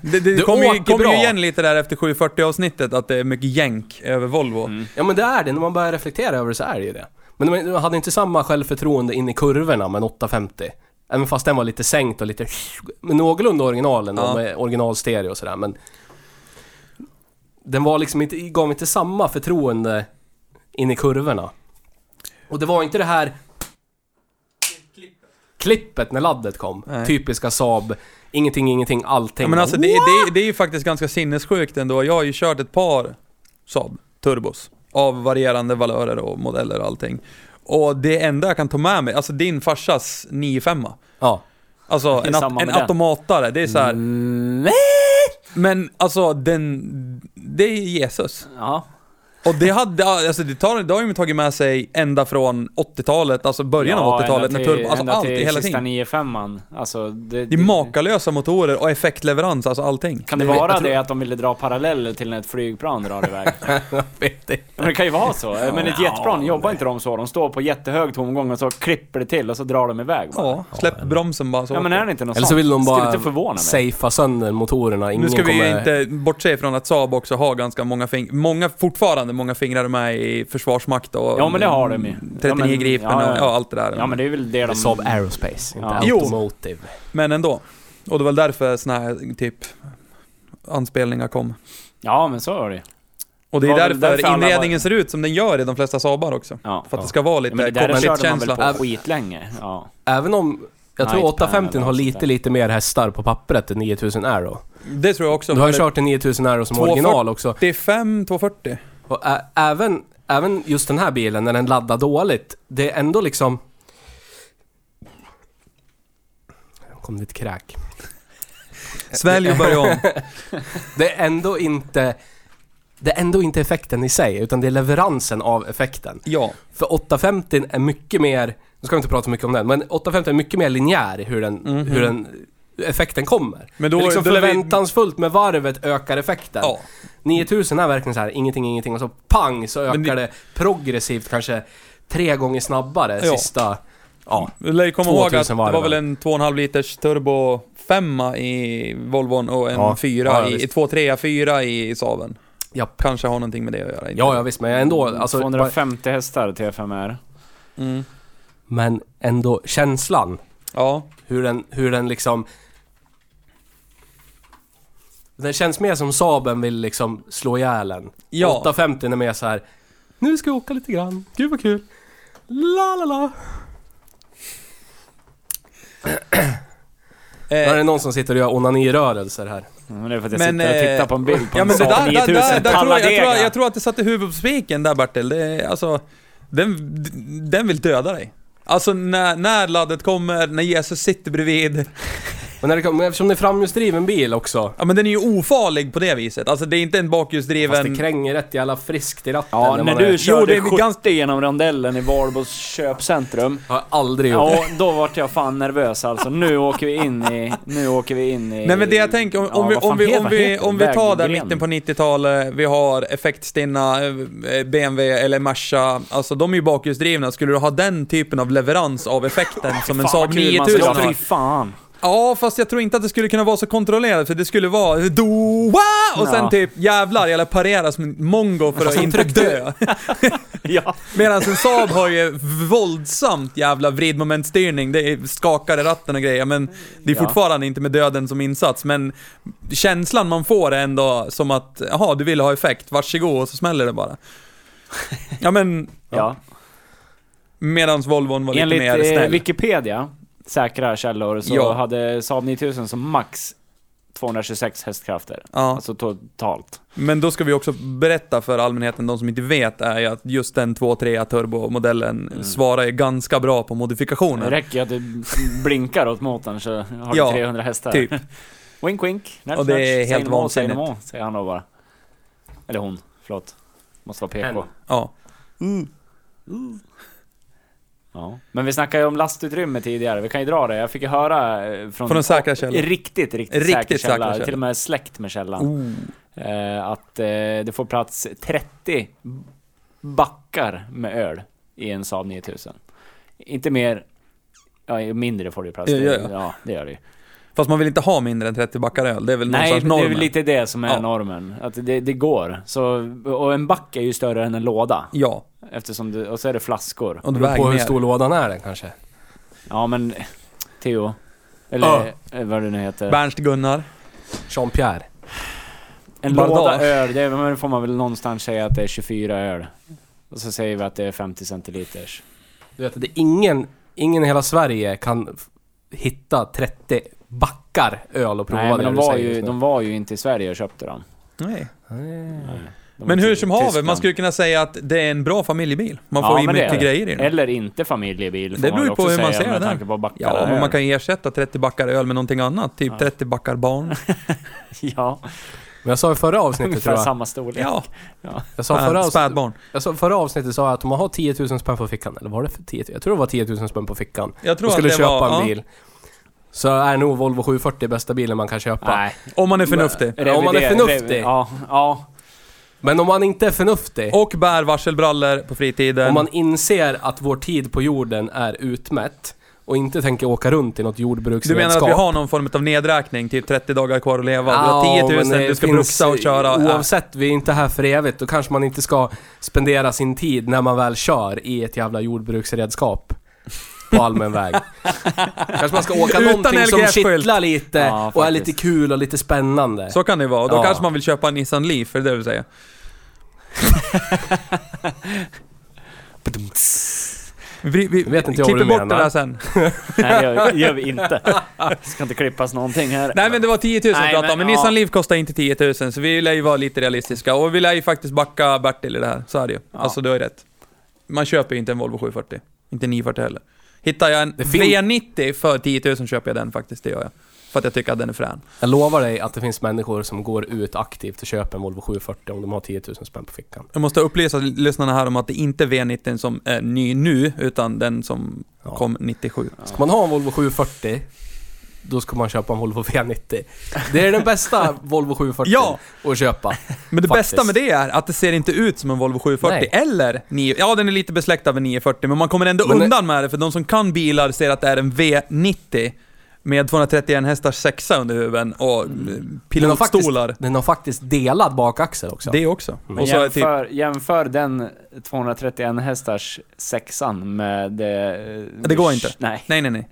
Det, det
Du
kommer ju,
åker
kommer ju
bra.
igen lite där efter 740 avsnittet att det är mycket jänk över Volvo.
Mm.
Ja men det är det, när man börjar reflektera över det så är det ju det. Men man- man hade inte samma självförtroende in i kurvorna med en 850. Även fast den var lite sänkt och lite... Men någorlunda originalen
Ja.
och med originalstereo och sådär men... Den var liksom inte, gav inte samma förtroende in i kurvorna. Och det var inte det här... Klippet när laddet kom.
Nej.
Typiska Saab. Ingenting, ingenting, allting.
Ja, men alltså det, det, det är ju faktiskt ganska sinnessjukt ändå. Jag har ju kört ett par Saab Turbos av varierande valörer och modeller och allting. Och det enda jag kan ta med mig, alltså din farsas 95
Ja.
Alltså
är
en,
samma
at- en
med den.
automatare, det är så
Mm.
här. Mm,
Nej!
Men alltså den, det är Jesus.
Ja.
Och det hade, alltså det, tar, det har ju tagit med sig ända från 80-talet, alltså början
Ja,
av 80-talet
ända
när
till-
turbo, alltså
ända
allt,
till
hela
sista
tiden.
95an. Alltså, det,
Det är makalösa motorer och effektleverans, alltså allting.
Kan det
Jag
vara
tror-
det att de ville dra paralleller till när ett flygplan drar iväg?
Jag vet inte.
Men det kan ju vara så. Men ett jetplan jobbar inte de så. De står på jättehög tomgång och så klipper det till och så drar de iväg bara.
Ja, släpp bromsen bara så.
Ja men är det inte något
Eller så
sånt?
vill de
Skulle inte
bara
förvåna mig.
safea sönder motorerna. Ingen
nu ska vi
kommer...
ju inte bortse ifrån att Saab också har ganska många fingrar, många, fortfarande många fingrar med i Försvarsmakt och...
Ja, men det har de ju.
39
Ja, men-
Gripen
ja, ja.
och ja, allt det där.
Ja men det är väl det de...
Saab Aerospace, inte
Ja.
Jo.
Automotive.
Men ändå. Och det var väl därför såna här typ anspelningar kom.
Ja men så är det ju.
Och det är
Det var väl
därför,
därför alla
inredningen ser ut som den gör i de flesta Saabar också.
Ja.
För att det ska vara
Ja, Men det
lite
där körde man väl
cockpit-känsla.
på skitlänge. Ja.
Även om... Jag tror
Nightpan
850
eller
har
något sånt
lite,
där.
lite mer hästar på pappret än 9000 Aero.
Det tror jag också.
Du har ju
Men
kört en 9000 Aero som
240.
original också.
85, 240.
Och ä- även, även just den här bilen, när den laddar dåligt, det är ändå liksom... Nu kom det ett kräk.
Svälj och börja om.
Det är ändå inte... Det är ändå inte effekten i sig, utan det är leveransen av effekten.
Ja.
För 850 är mycket mer, nu ska vi inte prata så mycket om den, men 850 är mycket mer linjär i hur den, hur den effekten kommer.
Men Mhm. då-
det är liksom
då är vi-
förväntansfullt med varvet ökar effekten.
ja.
9000 är verkligen så här ingenting, ingenting och så pang så ökar
Men det-
det progressivt kanske tre gånger snabbare
Ja.
sista... Ja.
Du lär ju komma ihåg att
2000
det
var det
var väl
väl?
en 2,5 liters turbo femma i Volvon och en
Ja.
fyra
Ja, ja,
i,
visst.
2,3 fyra i Saaben.
Japp.
Kanske har någonting med det att göra. inte
Ja, ja visst, men ändå... Alltså, bara,
250 hästar T5R.
Mm.
men ändå känslan,
Ja.
hur den, hur den liksom... Den känns mer som Saben vill liksom slå ihjäl en.
Ja.
850 är mer så här. Nu ska vi åka lite grann. Gud vad kul. La la la. Nu är
Eh,
det någon som sitter och gör onanirörelser här.
Mm, Men det är för att jag
Men,
sitter och
eh,
tittar på en bild på
ja
en
men det
Saab
där, där,
9000
där, där tror jag, jag, tror,
Talladega.
jag tror att det satte huvudet på spiken där Bertil. Det, är- alltså, den, den vill döda dig. Alltså när, när laddet kommer, när Jesus sitter bredvid.
Men, när det, kom- men eftersom det är framhjulsdriven bil också.
Ja men den är ju ofarlig på det viset. Alltså det är inte en
Fast det
bakhjulsdriven...
kränger rätt jävla friskt i ratten.
Ja, när
när man
du
är,
körde
det är
70
ganska-
genom rondellen i Valbos köpcentrum.
har jag aldrig gjort.
Ja, då vart jag fan nervös alltså. Nu åker vi in i... Nu åker vi in i...
Nej men det jag tänker, om, om,
Ja,
vi,
vad fan
om, vi,
heter-
om,
vad
vi,
heter
om vi
den?
tar där
Väggren.
mitten på 90-talet, vi har effektstinna eh, BMW eller Merca, alltså de är ju bakhjulsdrivna. Skulle du ha den typen av leverans av effekten som en
Fan, vad
Saab
kul man
9000
ska ha.
har?
Fy fan.
Ja, fast jag tror inte att det skulle kunna vara så kontrollerat för det skulle vara doa och sen
Ja.
typ jävlar eller parera som en mongo för att
sen
inte dö.
Ja.
Medan en Saab har ju våldsamt jävla vridmomentstyrning. Det är skakar i ratten och grejer men det är
Ja.
fortfarande inte med döden som insats. Men känslan man får är ändå som att jaha, du vill ha effekt, varsågod och så smäller det bara. Ja men,
ja.
medans Volvon var lite mer
Enligt eh,
snäll.
Wikipedia, säkra källor, så
Ja.
hade Saab 9000 som max 226 hästkrafter.
Ja.
Alltså totalt.
Men då ska vi också berätta för allmänheten, de som inte vet, är ju att just den 2.3 turbomodellen
Mm.
svarar ju ganska bra på
Det
modifikationer.
räcker ju att du blinkar åt motorn så har du
Ja,
300 hästar.
Typ.
Wink wink. Nudge,
Och det är
nudge. Säg
helt
no more, säg no
vansinnigt.
more, Säger han då bara. Eller hon, förlåt. Måste vara PK.
Hen.
Ja.
Ja. Men vi snackade ju om lastutrymme tidigare, vi kan ju dra det. Jag fick ju höra eh, från...
Från en säkra källa.
Riktigt, riktigt,
Riktigt
säker
säkra
källa.
källa.
Till och med släkt med källan.
Oh.
Eh, att eh, det får plats 30 backar med öl i en Saab 9000. Inte mer, ja, mindre får det ju plats.
Ja, ja, ja.
ja det gör det ju.
Fast man vill inte ha mindre än 30 backar öl, det är väl
Nej,
någonstans
det är
normen?
väl lite det som är
Ja.
normen. Att det, det går. Så, och en back är ju större än en låda.
Ja,
Eftersom det, och så är det flaskor.
och
Det
du
beror
väger
på hur
ner.
stor lådan är den kanske.
Ja men, Theo. Eller eh, vad det nu heter.
Bernst Gunnar.
Jean-Pierre.
En
Bardage.
låda öl, det men får man väl någonstans säga att det är 24 öl. Och så säger vi att det är 50 centiliters.
Du vet, det är ingen, ingen i hela Sverige kan f- hitta 30 backar öl och prova
Nej
det
men de
du
var,
säger
ju,
just nu.
de var ju inte i Sverige och köpte dem.
Nej.
De
Men
var typ
hur
till-
som haver,
Tyskland.
man skulle kunna säga att det är en bra familjebil. Man
Ja,
får
men
in
det
mycket
är det.
grejer i den.
Eller inte familjebil får
Det beror
väl
ju på
också
hur man
säga
ser
med
det.
tanke på backar
Ja,
och
men
öl.
man kan ersätta 30 backar öl med någonting annat. Typ
Ja.
30 backar barn.
Ja,
Men jag sa i förra avsnittet
ungefär
tror jag.
samma storlek.
Ja,
Jag sa i förra, avsnittet,
spädbarn.
jag sa i förra avsnittet sa jag att om man har 10 000 spänn på fickan, eller var det för 10 000? Jag tror det var 10 000 spänn på fickan.
Jag tror
Och skulle
att det
köpa
var,
en
ja.
bil. Så är nog Volvo 740 bästa bilen man kan köpa.
Nej.
Om man är förnuftig.
Ja, om man är
revider-
förnuftig.
revi- Ja, ja.
Men om man inte är förnuftig,
Och bär varselbrallor på fritiden.
om man inser att vår tid på jorden är utmätt och inte tänker åka runt i något
Du
jordbruksredskap.
menar att vi har någon form av nedräkning, typ 30 dagar kvar att leva,
Ja,
du har 10
men
000,
det
du ska
finns-
bruxa och köra. Ja.
Oavsett, vi är inte här för evigt. Då kanske man inte ska spendera sin tid när man väl kör i ett jävla jordbruksredskap. På allmän väg. Kanske man ska åka
Utan
någonting som
LGF-skylt.
kittlar lite
Ja,
och är
faktiskt.
lite kul och lite spännande.
Så kan det vara, och då
Ja.
kanske man vill köpa en Nissan Leaf, är det det du säger? Vi, vi,
Vet inte jag vad
klipper
du
bort
menar.
det där sen.
Nej, det gör, gör vi inte. Det ska inte klippas någonting här.
Nej men det var 10 000
Nej,
vi pratade om,
men
men
ja.
Nissan Leaf kostar inte 10 000 så vi lär ju vara lite realistiska. Och vi lär ju faktiskt backa Bertil i det här, så är det ju. Alltså du har ju rätt. Man köper ju inte en Volvo 740. Inte en 940 heller. Hittar jag en
Det finns-
V90 för 10 000 köper jag den faktiskt, det gör jag. För att jag tycker att den är frän.
Jag lovar dig att det finns människor som går ut aktivt och köper en Volvo 740 om de har 10 000 spänn på fickan.
Jag måste upplysa lyssnarna här om att det inte är V90 som är ny nu, utan den som
Ja.
kom 97.
Ska man ha en Volvo 740, då ska man köpa en Volvo V90. Det är den bästa Volvo 740
Ja!
att köpa.
Men det
Faktiskt.
bästa med det är att det ser inte ut som en Volvo 740
Nej.
eller 9... Ja, den är lite besläktad med 940, men man kommer ändå
Men det-
undan med det för de som kan bilar ser att det är en V90 med 231 hästars sexa under huven och eh,
Den Mm. har, faktiskt,
pilotstolar.
den har faktiskt delad bakaxel också.
Det också.
Men
Och så är det typ,
jämför, jämför den 231 hästars sexan med... eh,
Det går inte.
Nej.
nej, nej, nej.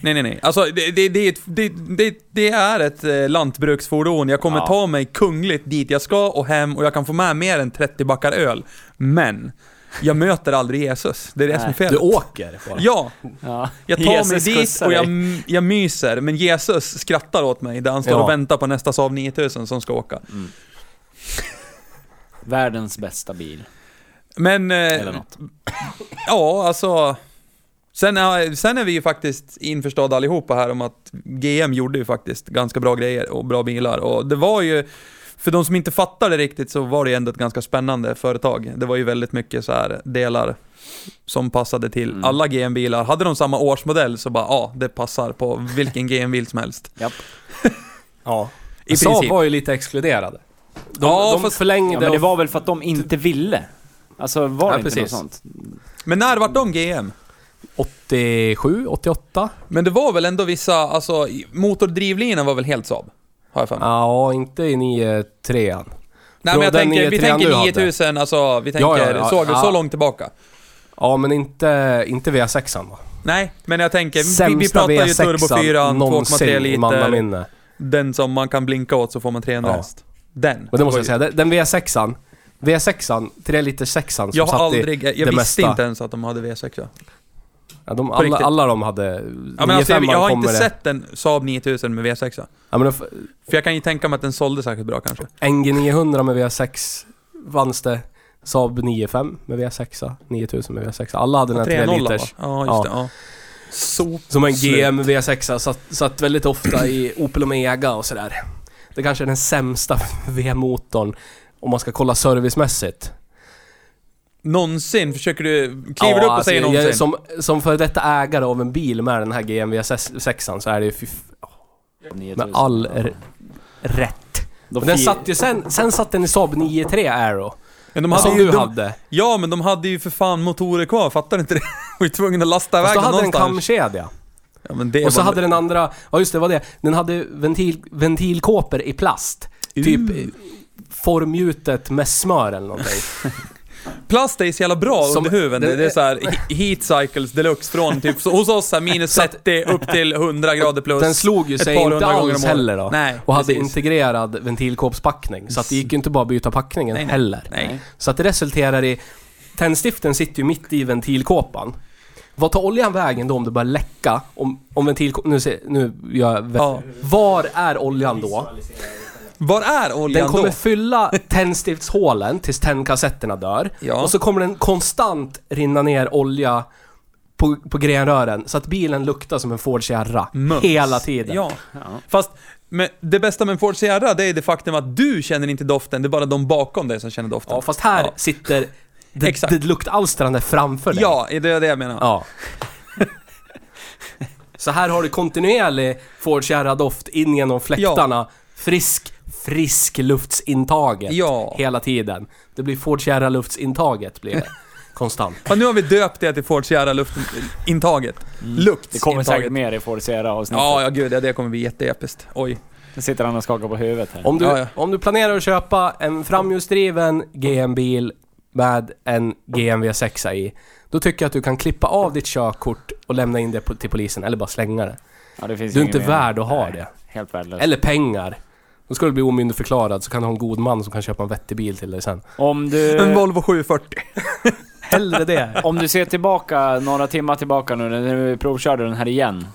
Nej, nej, nej. Alltså, det, det, det, är ett- det, det, det är ett eh, lantbruksfordon. Jag kommer
Ja.
ta mig kungligt dit jag ska och hem och jag kan få med mer än 30 backar öl. Men, jag möter aldrig Jesus. Det är det som är
Nej.
Du
felet.
åker bara.
Ja,
Ja.
jag tar
Jesus
mig dit
skjutsar
och jag,
dig.
jag myser, men Jesus skrattar åt mig där han står
Ja.
och väntar på nästa Saab 9000 som ska åka.
Världens bästa bil.
Men,
Eller
eh,
något.
ja alltså. Sen är, sen är vi ju faktiskt införstådda allihopa här om att GM gjorde ju faktiskt ganska bra grejer och bra bilar. Och det var ju, för de som inte fattar det riktigt så var det ju ändå ett ganska spännande företag. Det var ju väldigt mycket så här delar som passade till
Mm.
alla GM-bilar. Hade de samma årsmodell så bara ja, det passar på vilken GM-bil som helst.
Japp.
Ja.
I
Saab
princip.
var ju lite exkluderade. De,
Ja,
de
fast-
Ja,
förlängde
men det
och-
var väl för att de inte ville? Alltså var det
Ja,
inte
precis.
något sånt?
Men när vart de GM?
87, 88?
Men det var väl ändå vissa, alltså motordrivlinan var väl helt Saab? Har jag för mig.
Ja, inte i 93
Nej
Från
men
den
jag tänker, vi
93 du
tänker
hade.
9000, alltså vi tänker,
Ja, ja, ja,
så,
ja.
så långt tillbaka.
Ja, men inte, inte V6an va?
Nej, men jag tänker, vi, vi
Sämsta
pratar ju
V6an
turbo 4, 2,3
någonsin i
liter,
mannaminne.
den som man kan blinka åt så får man 300
Ja.
häst. Den.
Men det måste
var
jag
ju-
säga, den den V6an, V6an, 3 liter 6an som
Jag
satt
har aldrig,
i
jag
det
visste
mesta.
inte ens att de hade V6. Ja.
Ja, de,
riktigt.
alla, alla de hade...
Ja, men alltså, jag,
9-5an
jag har inte
kommer det.
sett en Saab 9000 med V6. ja.
Ja, men f-
För jag kan ju tänka mig att den sålde särskilt bra kanske.
NG 900 med V6 vanns det. Saab 95 med V6, 9000 med V6. Alla hade den här 3
3-0 va?
liters.
Ja,
Ja.
just det. Ja. Så
Som en
Slut.
GM V6 satt, satt väldigt ofta i Opel Omega och sådär. Det kanske är den sämsta V-motorn om man ska kolla servicemässigt.
Någonsin? Försöker du... Kliver
Ja,
du upp och
alltså,
säger
jag-
någonsin?
Som, som för detta ägare av en bil med den här GM V6 så är det ju fy, f-
9000,
med all
ja.
r- rätt.
De
Men den
fi-
satt ju sen, sen satt den i Saab 9-3 Aero.
Men de
som
hade ju,
du
de,
hade.
ja, men de hade ju för fan motorer kvar, fattar du inte det? De var ju tvungna att lasta
Fast
iväg
då
dem
hade den
någonstans.
kamkedja.
ja, men det
Och så
var-
hade den andra, ja just det, vad det Den hade ventil, ventilkåpor i plast. Typ eh, formgjutet med smör eller någonting.
Plast är ju så jävla bra
Som-
under huven. Det,
det-
är så här he- heat cycles deluxe från typ så, hos oss så här, minus 30 upp till 100 grader plus.
Den slog ju
ett
sig
par
inte
hundra gånger om
alls
året.
heller då.
Nej,
och hade
precis.
integrerad ventilkåpspackning. Så att det gick ju inte bara att byta packningen
Nej, nej.
heller.
Nej.
Så att det resulterar i... Tändstiften sitter ju mitt i ventilkåpan. Vad tar oljan vägen då om det börjar läcka? Om, om ventilkåpan... Nu, ser- nu gör jag...
Ja.
Var är oljan då?
Var är
Den
oljan
kommer
då?
fylla tändstiftshålen tills tändkassetterna dör.
Ja.
Och så kommer den konstant rinna ner olja på, på grenrören så att bilen luktar som en Ford Sierra.
Mums.
Hela tiden.
Ja.
Ja.
Fast men det bästa med en Ford Sierra, det är det faktum att du känner inte doften, det är bara de bakom dig som känner doften.
Ja, fast här
Ja.
sitter det,
Exakt.
det luktalstrande framför dig.
Ja, det är det jag menar.
ja. så här har du kontinuerlig Ford Sierra-doft in genom fläktarna. Frisk, frisk luftsintaget.
Ja.
Hela tiden. Det blir Ford Sierra-luftsintaget blir det. Konstant.
Ja, nu har vi döpt det till Ford Sierra luftintaget. Lukt.
Mm. Det kommer säkert mer i Ford Sierra-avsnittet.
Ja, ja gud ja, det kommer bli jätteepiskt. Oj.
Nu sitter han och skakar på huvudet här.
Om du,
Ja, ja.
om du planerar att köpa en framhjulsdriven GM-bil med en GMV 6 i, då tycker jag att du kan klippa av ditt körkort och lämna in det på, till polisen, eller bara slänga det.
Ja, det finns
Du
ju
är
ingen
inte
mening.
värd att ha
Nej,
det.
Helt värdelöst.
Eller pengar. Då ska du bli omyndigförklarad, så kan du ha en god man som kan köpa en vettig bil till dig sen.
Om du...
En Volvo 740.
Hellre det.
Om du ser tillbaka, några timmar tillbaka nu, när vi provkörde den här igen.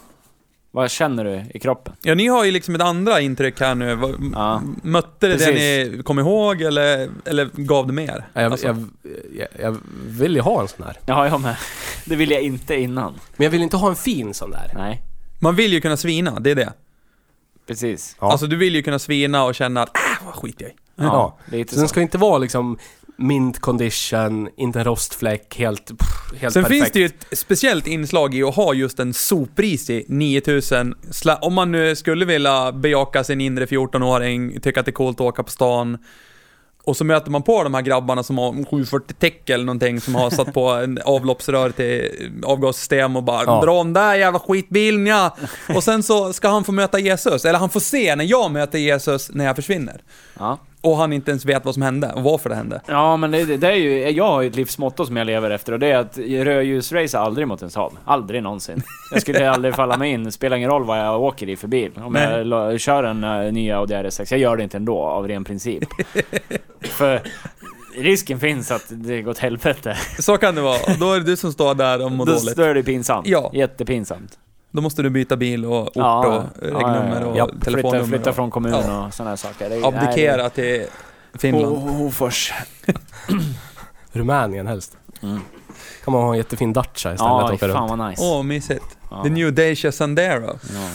Vad känner du i kroppen?
Ja, ni har ju liksom ett andra intryck här nu. Vad- m-
Ja.
Mötte det
Precis.
det ni kom ihåg eller, eller gav det mer?
Jag,
Alltså,
jag, jag, jag vill ju ha en sån här.
Ja, jag med. Det ville jag inte innan.
Men jag vill inte ha en fin sån där.
Nej,
Man vill ju kunna svina, det är det.
precis.
Ja.
Alltså du vill ju kunna svina och känna att äh, vad skit jag i."
Ja,
Ja.
lite
Så den
så.
ska inte vara liksom mint condition, inte en rostfläck, helt, pff, helt
Sen
perfekt.
finns det ju ett speciellt inslag i att ha just en soprisig 9000. Sla- om man nu skulle vilja bejaka sin inre 14-åring, tycka att det är coolt att åka på stan. Och så möter man på de här grabbarna som har en 740 täck eller någonting som har satt på en avloppsrör till avgassystem och bara
Ja.
dra om där jävla skitbilen ja. Och sen så ska han få möta Jesus, eller han får se när jag möter Jesus när jag försvinner.
Ja.
Och han inte ens vet vad som hände och varför det hände.
ja, men det, det är ju... Jag har ju ett livsmotto som jag lever efter och det är att rödljusracea aldrig mot en Saab. Aldrig någonsin. Jag skulle aldrig falla mig in. Spelar ingen roll vad jag åker i för bil. Om
Nej.
jag la- eh, kör en uh, ny Audi RS6. Jag gör det inte ändå, av ren princip. för risken finns att det går åt helvete.
Så kan det vara. Då är det du som står där och mår
Då
dåligt.
då är det pinsamt.
Ja.
Jättepinsamt.
Då måste du byta bil och ort och regnummer och
ja.
telefonnummer.
Flytta, flytta
och
från kommun och sådana här saker. Det är- nej,
Abdikera till
det-
Finland.
Ho- Hofors.
Rumänien helst.
Mm.
Kan man ha en jättefin Dacia istället och
Ja,
åka runt.
fan vad nice.
Åh, mysigt.
Ja.
The new Dacia Sandero.
Ja.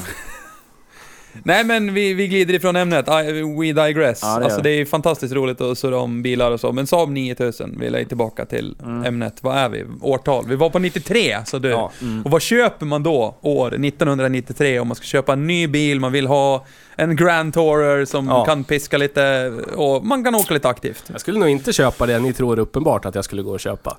Nej men vi, vi glider ifrån ämnet, I, we digress.
Ja, det gör
alltså
vi.
det är fantastiskt roligt att surra om bilar och så, men Saab 9000, vi är ju tillbaka till
Mm.
ämnet. Vad är vi? Årtal? Vi var på 93, så du.
Ja.
Mm.
Och vad köper man då, år 1993, om man ska köpa en ny bil, man vill ha en Grand Tourer som
Ja.
kan piska lite och man kan åka lite aktivt.
Jag skulle nog inte köpa det ni tror är uppenbart att jag skulle gå och köpa.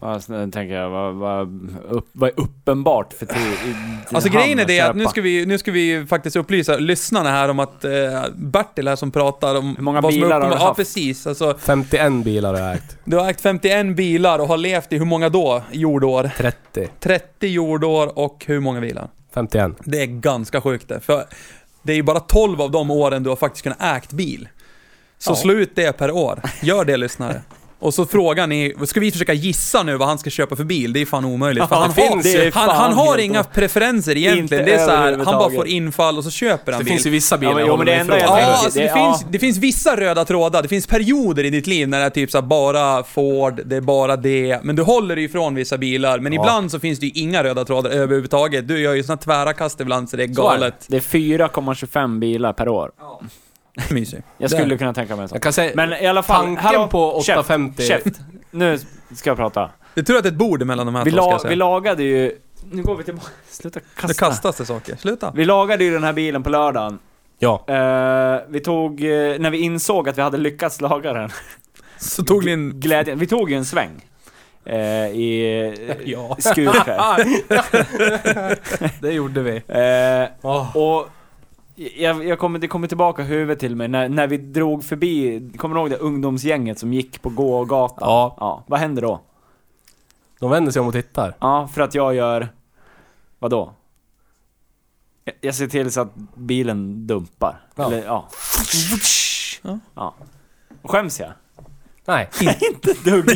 Ja, sen tänker jag, vad, vad, upp, vad är uppenbart för till, i- till
Alltså
hamn
grejen är det att nu
köpa?
ska, vi, nu ska vi ju faktiskt upplysa lyssnarna här om att eh, Bertil här som pratar om
Hur många
vad som är
bilar har du
uppenbart- Ja
haft?
precis, alltså
51 bilar har jag ägt.
Du har ägt 51 bilar och har levt i hur många då? Jordår?
30.
30 jordår och hur många bilar?
51.
Det är ganska sjukt det. För det är ju bara 12 av de åren du har faktiskt kunnat ägt bil. Så
Ja.
slå ut det per år. Gör det lyssnare. Och så frågar ni, ska vi försöka gissa nu vad han ska köpa för bil? Det är fan omöjligt. För
Ja,
han,
det
har,
finns ju
han,
fan
han har
helt
inga
o-
preferenser egentligen.
Inte
Det är så här, han bara
överhuvudtaget.
får infall och så köper han
Det
bil.
finns ju vissa bilar
Ja, men-
jag
jo, men det
håller mig
enda
ifrån.
jag
Ja,
tänker-
alltså det,
det-
finns,
ja.
det finns vissa röda trådar. Det finns perioder i ditt liv när det är typ så här, bara Ford, det är bara det. Men du håller dig ifrån vissa bilar. Men
Ja.
ibland så finns det ju inga röda trådar överhuvudtaget. Du gör ju såna tvära kast ibland så det är
Så är det.
galet.
Det är 4,25 bilar per år.
Mysig.
Jag skulle kunna tänka mig en sån.
Jag kan säga,
Men i alla fall,
tanken
hallå,
på 850...
Käft, käft. Nu ska jag prata.
Det tror jag att det är ett bord mellan de här
Vi,
två ska
la,
jag
vi
säga.
lagade ju... Nu går vi tillbaka. Sluta
Nu
kasta.
kastas det saker. Sluta.
Vi lagade ju den här bilen på lördagen.
Ja.
Eh, vi tog... eh, när vi insåg att vi hade lyckats laga den.
Så tog ni en...
Glädjen. Vi tog ju en sväng. eh, I
Ja.
Skutskär.
det gjorde vi.
Eh, Och jag, jag kommer, det kommer tillbaka huvudet till mig när, när vi drog förbi, kommer du ihåg det ungdomsgänget som gick på gågatan?
Ja,
Ja, vad händer då?
de vänder sig om och tittar.
Ja, för att jag gör... Vadå? Jag, jag ser till så att bilen dumpar.
Ja.
Eller ja.
Ja.
Ja. Skäms jag?
Nej.
Ett dugg.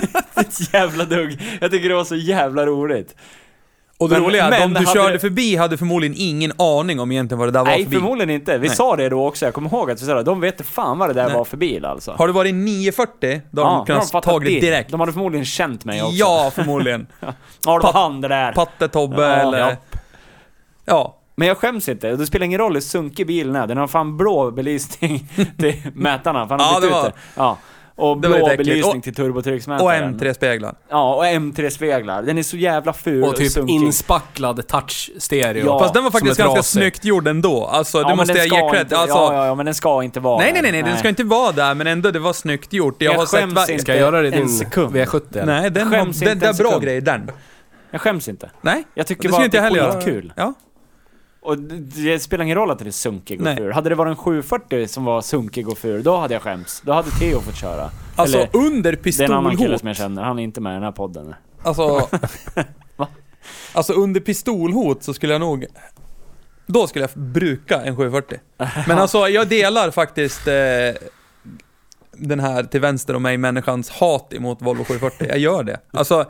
Ett jävla dugg. Jag tycker det var så jävla roligt.
Och det
Men-
roliga är
men
att de du
hade
körde
det-
förbi hade förmodligen ingen aning om egentligen vad det där var
Nej,
för bil.
förmodligen inte. Vi
Nej.
sa det då också, jag kommer ihåg att vi sa det. De vet fan vad det där
Nej.
var för bil alltså.
Har du varit 940, då har de kunnat
fattat
tagit det direkt.
De hade förmodligen känt mig också.
Ja, förmodligen.
Har de
Pat-
hand det där?
Patte-Tobbe
Ja,
eller...
ja.
Ja,
Men jag skäms inte. Det spelar ingen roll hur sunkig bilen är. Den har fan blå belysning till mätarna. Fan, han
Ja,
bytte
det var-
ut det. Ja. Och
det var
blå
lite äckligt.
belysning
Och-
till
och
turbotrycksmätaren.
M3-speglar.
Ja, och M3-speglar. Den är så jävla ful och,
Och typ
sunkig.
inspacklad touch-stereo.
Ja.
Fast den var
som
faktiskt
är
ganska
trasig.
snyggt gjord ändå. Alltså,
Ja,
det
men
måste
den
jag
ska
ge cred.
inte-
Alltså,
ja, ja, ja, men den ska inte vara
nej, nej,
där.
nej, nej, den ska inte vara där, men ändå det var snyggt gjort. Jag,
Jag
har sett...
skäms
va-
inte.
Ska jag göra det i
En
din
sekund.
V70 eller?
Nej, den,
Skäms
har, den,
inte
det
en
är bra
sekund.
grejer den.
Jag skäms inte.
Nej,
Jag
Det
tycker
skulle
bara att
inte
det
jag heller
är
göra.
kul.
ja.
Och det- det spelar ingen roll att den är sunkig och
Nej.
ful. Hade det varit en 740 som var sunkig och ful, då hade jag skämts. Då hade Theo fått köra.
Alltså
Eller-
under
Det är en annan kille
pistolhot.
som jag känner, han är inte med i den här podden.
Alltså...
Va?
alltså under pistolhot så skulle jag nog... Då skulle jag bruka en 740. Men alltså jag delar faktiskt eh, den här till vänster om mig människans hat emot Volvo 740. Jag gör det. Alltså,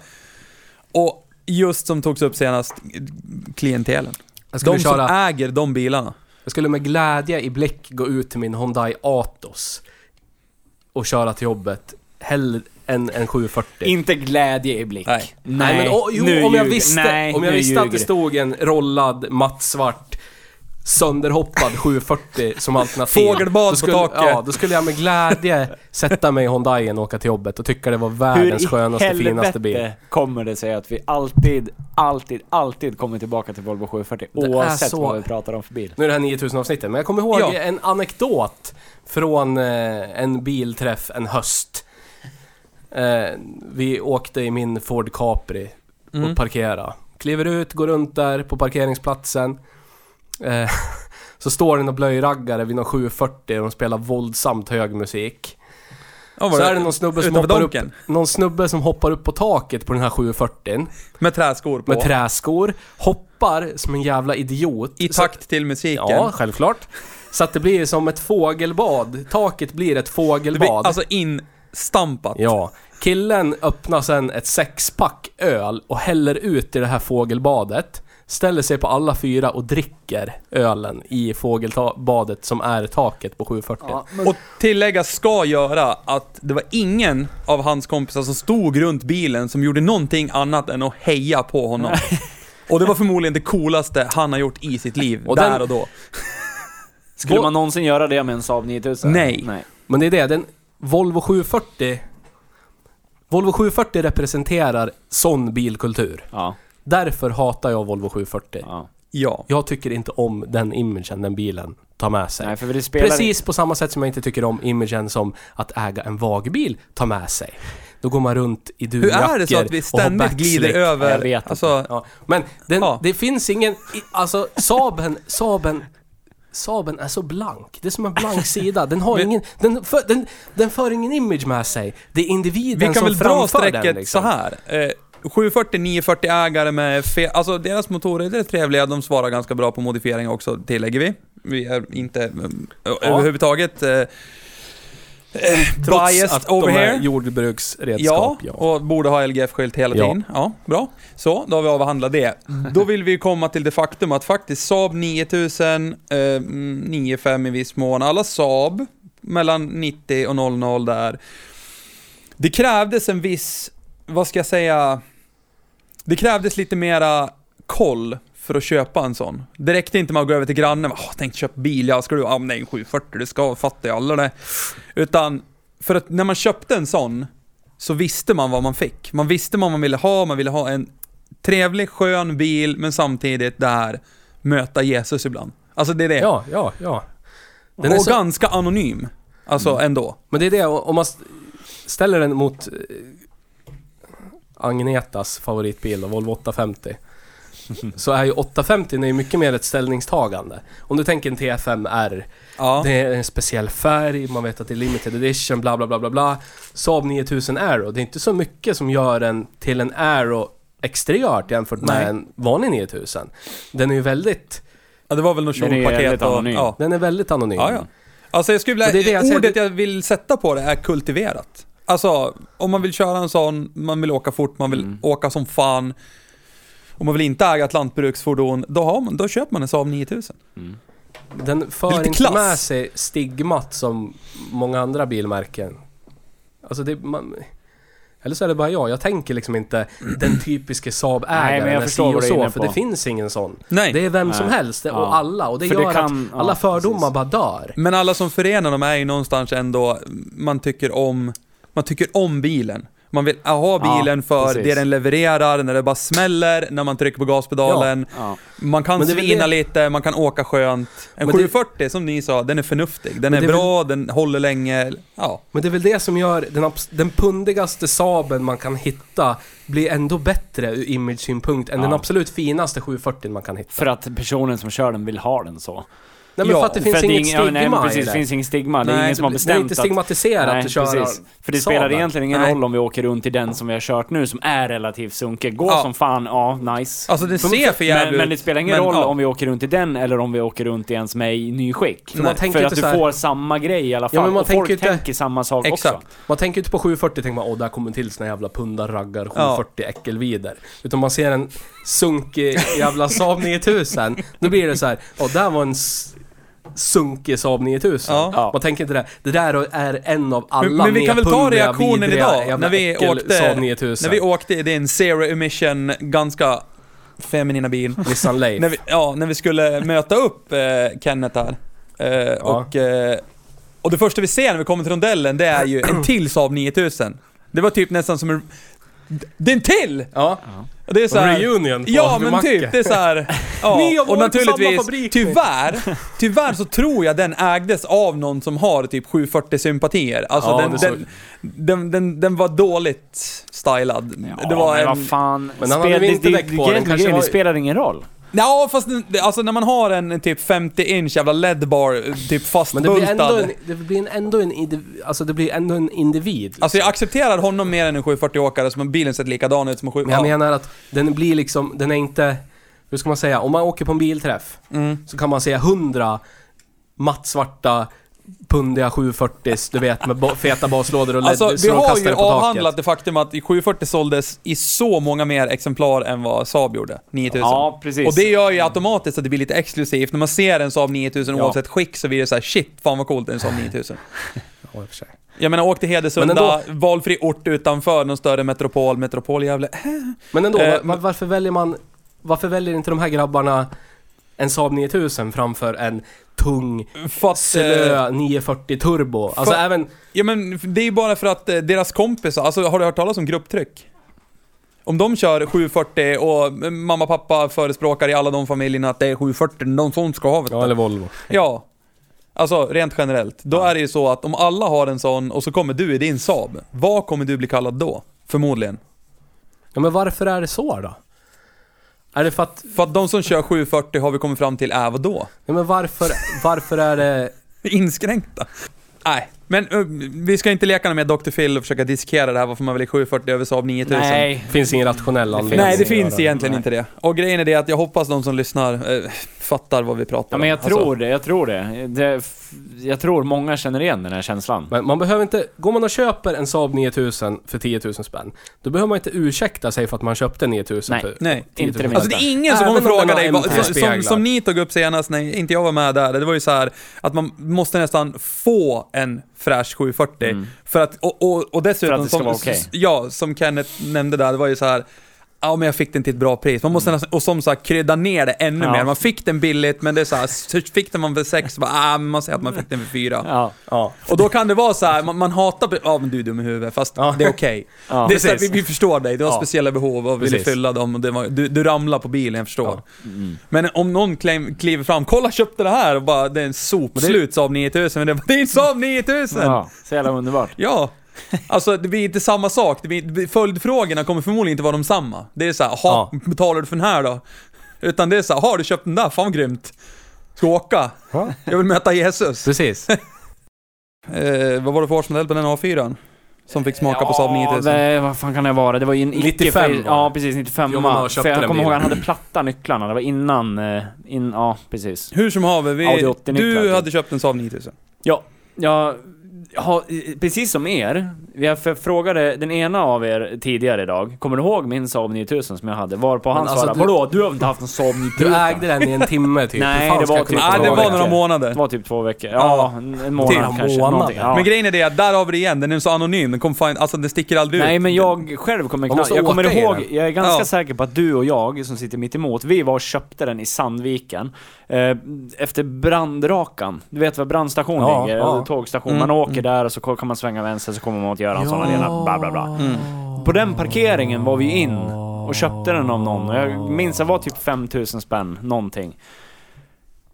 och just som togs upp senast, klientelen.
Jag skulle,
De som
köra,
äger de bilarna.
jag skulle med glädje i blick gå ut till min Hyundai Atos och köra till jobbet hellre än en 740.
Inte glädje i blick.
Nej.
Nej, men å, jo,
nu
om jag
ljuger.
visste,
Nej,
om jag
nu
visste att det
ljuger.
stod en rollad mattsvart sönderhoppad 740 som alternativ.
Fågelbad
då skulle,
på taket.
Ja, då skulle jag med glädje sätta mig i Hyundaien och åka till jobbet och tycka det var världens skönaste,
Hur i
finaste bil.
helvete kommer det sig att vi alltid, alltid, alltid kommer tillbaka till Volvo 740
är
oavsett
så-
vad vi pratar om för bil?
Nu är det här 9000 avsnittet, men jag kommer ihåg
Ja.
en anekdot från eh, en bilträff en höst. Eh, vi åkte i min Ford Capri
Mm.
och parkera. Kliver ut, går runt där på parkeringsplatsen. Eh, så står det några blöjraggare vid någon 740 och de spelar våldsamt hög musik.
Ja, var
Så är det någon snubbe som
Utanför
hoppar upp,
donken?
någon snubbe som hoppar upp på taket på den här 740
Med träskor på.
med träskor, hoppar som en jävla idiot.
I
Så-
takt till musiken.
Ja, självklart. Så att det blir som ett fågelbad. Taket blir ett
Det blir
fågelbad.
alltså instampat.
Ja. Killen öppnar sen ett sexpack öl och häller ut i det här fågelbadet. Ställer sig på alla fyra och dricker ölen i fågelbadet som är taket på 740.
Ja,
Och tillägga ska göra att det var ingen av hans kompisar som stod runt bilen som gjorde någonting annat än att heja på honom. Och det var förmodligen det coolaste han har gjort i sitt liv,
Och
där
den-
och då.
Skulle man någonsin göra det med en Saab 9000?
Nej.
Nej.
Men det är det, den Volvo 740 Volvo 740 representerar sån bilkultur.
Ja,
Därför hatar jag Volvo 740.
ja.
Ja.
Jag tycker inte om den imagen den bilen tar med sig.
Nej, för det spelar
Precis på samma sätt som jag inte tycker om imagen som att äga en vagbil tar med sig. Då går man runt i
Hur
dunjackor
är det så att vi
och har
ständigt glider
backslick.
över...
Jag vet inte.
alltså,
Ja, men den,
Ja.
det finns ingen... i- Alltså Saaben, Saaben, Saaben är så blank. Det är som en blank sida. Den har
Men-
ingen... Den för, den, den för ingen image med sig. Det är individen
vi kan
som
väl dra
framför
strecket
den liksom.
så här. Eh, 740, 940 ägare med fe- Alltså deras motorer det är trevliga, de svarar ganska bra på modifieringar också, tillägger vi. Vi är inte eh, överhuvudtaget... Eh, eh,
Trots
biased
att
over
de
here.
är jordbruksredskap, ja.
Ja, och borde ha LGF-skylt hela
Ja.
tiden. Ja, bra. Så, då har vi avhandlat det. Då vill vi komma till det faktum att faktiskt Saab 9000, eh, mm, 95 i viss mån, alla Saab mellan 90 och 00 där. Det krävdes en viss, vad ska jag säga, det krävdes lite mera koll för att köpa en sån. Det räckte inte med att gå över till grannen och tänkte köpa bil, ja ska du, ja men det är en 740, det ska, fattar jag alla det. Utan, för att när man köpte en sån, så visste man vad man fick. Man visste vad man ville ha, man ville ha en trevlig, skön bil, men samtidigt där möta Jesus ibland. Alltså det är det.
Ja, ja, ja. Den är
och
så- Mm.
ganska anonym. Alltså ändå.
Men det är det, om man st- ställer den mot eh, Agnetas favoritbil då, Volvo 850. Så är ju 850 är ju mycket mer ett ställningstagande. Om du tänker en T5R,
Ja.
det är en speciell färg, man vet att det är limited edition, bla bla bla bla bla. Saab 9000 Aero, det är inte så mycket som gör den till en Aero exteriört jämfört med
Nej.
en vanlig 9000. Den är ju väldigt,
ja, det var väl något
Den är ju
kjolpaket
jävligt
och...
anonym.
Ja.
den är väldigt anonym.
ja, ja. Alltså jag skulle
Och
vilja,
det är det jag säger,
ordet
det-
jag vill sätta på det är kultiverat. Alltså, om man vill köra en sån, man vill åka fort, man vill
Mm.
åka som fan. Om man vill inte äga ett lantbruksfordon, då, har man, då köper man en Saab 9000.
Den
Det är
för
lite
inte
klass.
med sig stigmat som många andra bilmärken. Alltså det... Man, eller så är det bara jag. Jag tänker liksom inte den typiske
Nej, men jag
Saab-ägaren är si
förstår vad
och
du är
så,
inne
för
på.
det finns ingen sån.
Nej.
Det är vem
Nej.
som helst det- och
Ja.
alla och det
För det
gör
kan-
att alla
ja,
fördomar
precis.
bara dör.
Men alla som förenar dem är ju någonstans ändå, man tycker om, man tycker om bilen. Man vill ha
Ja,
bilen för
precis.
det den levererar, när det bara smäller, när man trycker på gaspedalen.
Ja.
Man kan
Men det är väl
svina
det-
lite, man kan åka skönt. En
Men det-
740 som ni sa, den är förnuftig. Den
Men
är,
det är väl-
bra, den håller länge. Ja.
Men det är väl det som gör den, abs- den pundigaste Saaben man kan hitta blir ändå bättre ur image-synpunkt än
Ja.
den absolut finaste 740 man kan hitta.
För att personen som kör den vill ha den så.
Nej men
Ja,
för att det finns
För att
inget
ingen- ja,
stigma
nej, men precis,
i
det
det.
finns inget stigma. Det är
Nej,
ingen som har
Det är inte
bestämt att...
stigmatiserat att köra
För det spelar
Saaben.
egentligen ingen
Nej.
roll om vi åker runt i den som vi har kört nu, som är relativt sunkig. Går
Ja.
som fan, ja, nice.
Alltså det ser för jävligt
men,
ut.
men det spelar ingen roll
ja.
om vi åker runt i den eller om vi åker runt i en som är i ny skick.
man tänker
för
inte
att du
så här-
får samma grej i alla fall.
men man
och folk
tänker inte-
tänker samma sak
Exakt.
också.
Man tänker inte på 740 tänker man åh där kommer till sina jävla pundar raggar 740 äckelvider. Utan man ser en sunkig jävla Saab 9000. Då blir det så här, åh där var en s- sunkig Saab 9000.
Ja.
Ja.
Man tänker inte det, det där är en av alla
Men, men vi kan väl ta
nerpundiga,
reaktionen
vidriga
idag,
jävla
när vi,
äckel-
åkte,
Saab 9000.
när vi åkte i din zero emission, ganska feminina bil.
Nissan Leaf.
när vi, ja, när vi skulle möta upp eh, Kenneth här. Eh, och, eh, och det första vi ser när vi kommer till rondellen, det är ju en till Saab 9000. Det var typ nästan som en... Det är en till!
Ja,
Och det är så här,
reunion på
Ja men
Macke.
typ, det är såhär...
Ni
Ja,
har
och
varit på samma
naturligtvis,
fabrik, ni.
tyvärr, tyvärr så tror jag den ägdes av någon som har typ 740-sympatier. Alltså
Ja,
den,
det är så.
den, den, den, den var dåligt stylad.
Ja,
det var
men
en...
vad fan.
Men han hade
Spel- det-
vinterdäck
det-
på
det-
den,
det-
kanske
det
var-
spelar ingen roll.
Ja fast den- det- alltså när man har en typ 50 inch jävla ledbar typ
Men det blir
fastbultad.
ändå en, det blir en- ändå en, indiv- alltså det blir ändå en individ. liksom.
Alltså jag accepterar honom mer än en 740-åkare som bilen sett likadan ut som en 740
Men jag menar att den blir liksom, den är inte, hur ska man säga, om man åker på en bilträff
Mm.
så kan man säga 100 mattsvarta, pundiga 740s, du vet med bo- feta baslådor och LED
Alltså, vi
så de
har
kastar
ju
det på taket.
avhandlat det faktum att i 740 såldes i så många mer exemplar än vad Saab gjorde, 9000.
Ja, precis.
Och det gör ju automatiskt att det blir lite exklusivt. När man ser en Saab 9000
Ja.
oavsett skick så blir det så här: shit, fan vad coolt det är en Saab 9000.
Ja, i och för sig.
Jag menar, åk till Hedesunda,
Men ändå-
valfri ort utanför någon större metropol, metropol Gävle.
Men ändå,
Eh,
va- va- varför väljer man... Varför väljer inte de här grabbarna en Saab 9000 framför en tung,
För att, eh,
slö 940 turbo? Alltså
För-
även...
ja men det är ju bara för att eh, deras kompisar, alltså har du hört talas om grupptryck? Om de kör 740 och eh, mamma och pappa förespråkar i alla de familjerna att det är 740, någon som ska ha vet du.
Volvo.
Ja. Alltså rent generellt. Då är det ju så att om alla har en sån och så kommer du i din Saab. Vad kommer du bli kallad då? Förmodligen.
Ja, men varför är det så då? Är det för att...
För att de som kör 740 har vi kommit fram till är vad då?
Ja, men varför, varför är det...
Inskränkta. Nej, men eh, vi ska inte leka med Dr. Phil och försöka diskutera det här varför man väljer 740 över Saab 9000.
Nej.
finns ingen rationell anledning.
Nej, det
att göra
finns egentligen
Nej.
inte det. Och grejen är det att jag hoppas de som lyssnar eh, fattar vad vi pratar
Ja,
om.
men jag
Alltså,
tror det, jag tror det. det. f- Jag tror många känner igen den här känslan.
Men man behöver inte... Går man och köper en Saab 9000 för 10 000 spänn, då behöver man inte ursäkta sig för att man köpte typ. 9000
Nej.
för...
nej.
10 000
Inte det minsta.
Alltså det är ingen som
Även
kommer
om den
fråga
har
dig, vad, som,
MP-speglar.
som, som ni tog upp senast när inte jag var med där, det var ju så här att man måste nästan få en fräsch 740. För att, och, och, och dessutom,
Mm. För att det ska
som,
vara okej.
ja, som Kenneth nämnde där, det var ju så här Ja men jag fick den till ett bra pris. Man måste nästan, och som sagt krydda ner det ännu
Mm. Ja.
mer. Man fick den billigt men det är så här, så fick den man för sex, bara, ah, men man säger att man fick den för fyra.
Ja.
Ja.
Och då kan det vara så här, man, man hatar, ja men du är dum i huvudet, fast
Ja.
det är okej.
Ja.
Det är så här, vi,
Precis.
vi förstår dig, du har
Ja.
speciella behov och ville
Precis. Mm.
fylla dem. Och det var, du, du ramlar på bilen, jag förstår. Men om någon claim, kliver fram, kolla köpte det här och bara, det är en sopslut Saab 9000. Men det, det är en Saab 9000! Ja.
Ja, så jävla underbart.
Alltså det blir inte samma sak, det blir, det blir, följdfrågorna kommer förmodligen inte vara de samma. Det är så här, ha,
Ja.
betalar du för den här då? Utan det är så här, har du köpt den där? Fan vad grymt. Ska åka?
Ja.
Jag vill möta Jesus.
Precis.
Eh, vad var det för årsmodell på den A4? Som fick smaka på Saab 9000?
det- vad fan kan det vara? Det var ju en icke-
95 var det.
Ja, precis. 95.
Jo, men han köpte
För jag
den
kommer ihåg att
bilen.
han hade platta nycklarna. Det var innan... eh, In, ja, precis.
Hur som haver, vi,
Audi 80 nycklar,
du
typ.
hade köpt en Saab 9000.
Ja, jag har, eh, precis som er, jag för- frågade den ena av er tidigare idag, kommer du ihåg min Saab 9000 som jag hade? Varpå han
Men alltså,
svarade,
du-
vadå, du har inte haft en Saab 9000?
Du ägde den i en timme typ.
Nej,
Hur fan
det
ska
var
jag kunna
typ-
Nej,
komma
det
ihåg
var
veckor.
några månader.
Det var typ två veckor, ja, en en månad
Till en
kanske.
månad.
någonting, Ja.
Men grejen är det, där har vi det igen, den är så anonym, den kommer fan, alltså den sticker aldrig
Nej
ut.
men jag själv kommer
Man
knappt...
måste
Jag kommer
åka i
ihåg,
den.
jag är ganska
Ja.
säker på att du och jag som sitter mitt emot, vi var och köpte den i Sandviken. Eh, efter brandrakan. Du vet var brandstation
Ja,
ligger?
ja.
Tågstation.
Mm,
Man åker där och så kan man svänga vänster så kommer man åt Göransson
Ja.
arena, bla bla bla. På den parkeringen var vi in och köpte den av någon. Och Jag minns det var typ 5000 spänn, någonting.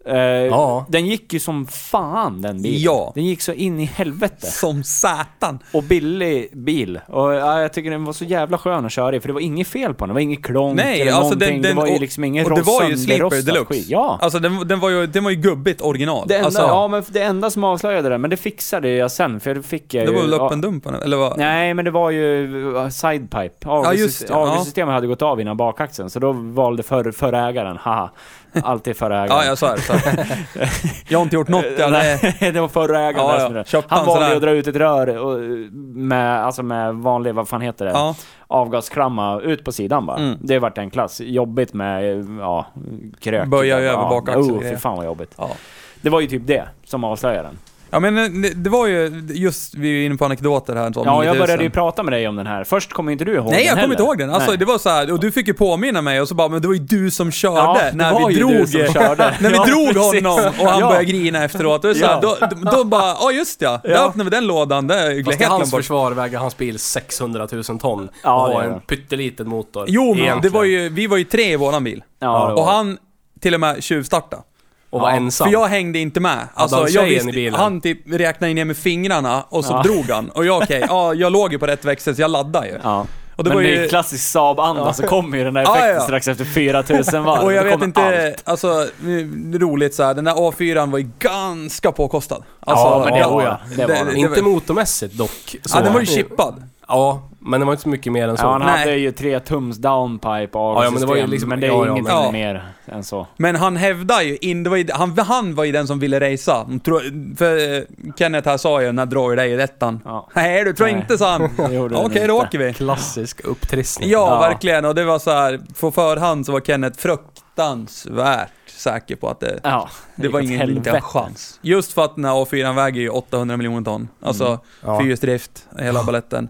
Eh,
Ja.
Den gick ju som fan den bilen.
Ja.
Den gick så in i helvete.
Som satan!
Och billig bil. Och ja, jag tycker den var så jävla skön att köra i, för det var inget fel på den. Det var inget klonk
Nej,
eller
alltså
någonting.
den, den,
det var ju
och-
liksom ingen
Och det var ju sleeper
sönderrostad
deluxe.
skit. Ja.
Alltså den, den, var ju, den var ju gubbigt original.
det enda,
alltså,
ja, men det enda som avslöjade det, men det fixade jag sen, för det fick jag
det
ju...
var väl öppen
ja,
dump på den, eller vad?
Nej, men det var ju eh, sidepipe.
just
Avgångssystemet
det, ja.
hade gått av innan bakaxeln, så då valde för, förra ägaren, haha. Alltid förra ägaren.
Ja, jag sa det. Så. här. jag har inte gjort något, jag, nej.
Nej, det var förra ägaren
Ja,
där
ja.
som gjorde det.
Köpte
Han
han
valde
sådär.
att dra ut ett rör och, med, alltså med vanlig, vad fan heter det?
Ja.
Avgaskramma ut på sidan bara.
Mm.
Det vart en klass. Jobbigt med, ja, krök.
Böja över
ja.
bakaxeln och
Oh, fy
grejer.
fan vad jobbigt.
Ja.
Det var ju typ det som avslöjade den.
ja, men eh, det var ju, just, vi är inne på anekdoter här. Saab
Ja, jag
9000.
började ju prata med dig om den här. Först kommer inte du ihåg
Nej,
den
jag kommer
heller.
inte ihåg den. Alltså,
Nej.
det var så här, och du fick ju påminna mig och så bara, men det var ju du som körde
Ja, det
när
var
vi
ju
drog,
du som körde.
när vi
Ja,
drog
precis.
honom och han
Ja.
började grina efteråt. Och så här, då, då, då bara, ja just ja, där
Ja.
öppnade vi den lådan, det är
Fast i
helt
hans
glömt bort.
försvar väger hans bil 600 000 ton
Ja,
och
det
har
gör den.
en pytteliten motor.
Jo, men
egentligen.
det var ju, vi var ju tre i våran bil.
Ja, det
och
var-
han till och med tjuvstartade.
Och var ensam.
För jag hängde inte med. Alltså,
han
jag
tjejen i bilen?
han typ räknade ner med fingrarna och så
Ja.
drog han. Och jag okej, ja jag låg ju på rätt växel så jag laddade ju.
Ja.
Och det
men
var
det är
ju-
ju klassisk Saab-anda, så kommer ju den där
Ja,
effekten
ja.
strax efter 4000 varv.
Och jag
Då
vet
kommer
inte,
allt.
alltså det är roligt så här. den där A4 var ju ganska påkostad. Alltså,
oh Ja, men det var jag. Det var den.
Inte motormässigt dock. så.
Ja, den var ju chippad.
Ja, Men det var inte så mycket mer än så.
Ja, han
Nej.
hade ju tre tums downpipe av
Ja, ja, men det var ju
system,
liksom-
men det är
ja, ja,
ingenting
men-
mer än så.
Men han hävdar ju in, det var ju, han, han var ju den som ville racea. De tror- För eh, Kenneth här sa ju när drar ju dig i ettan.
Ja.
Nej, du tror
Nej.
inte sa han.
Det gjorde
Okej,
den inte.
då åker vi.
Klassisk upptrissning.
Ja,
Ja.
verkligen. Och det var så här, på förhand så var Kenneth fruktansvärt säker på att det,
Ja,
det var
gick åt
ingen liten
helvete.
chans. Just för att den här A4 väger ju 800 miljoner ton. Alltså,
Ja.
fyrhjulsdrift, hela balletten.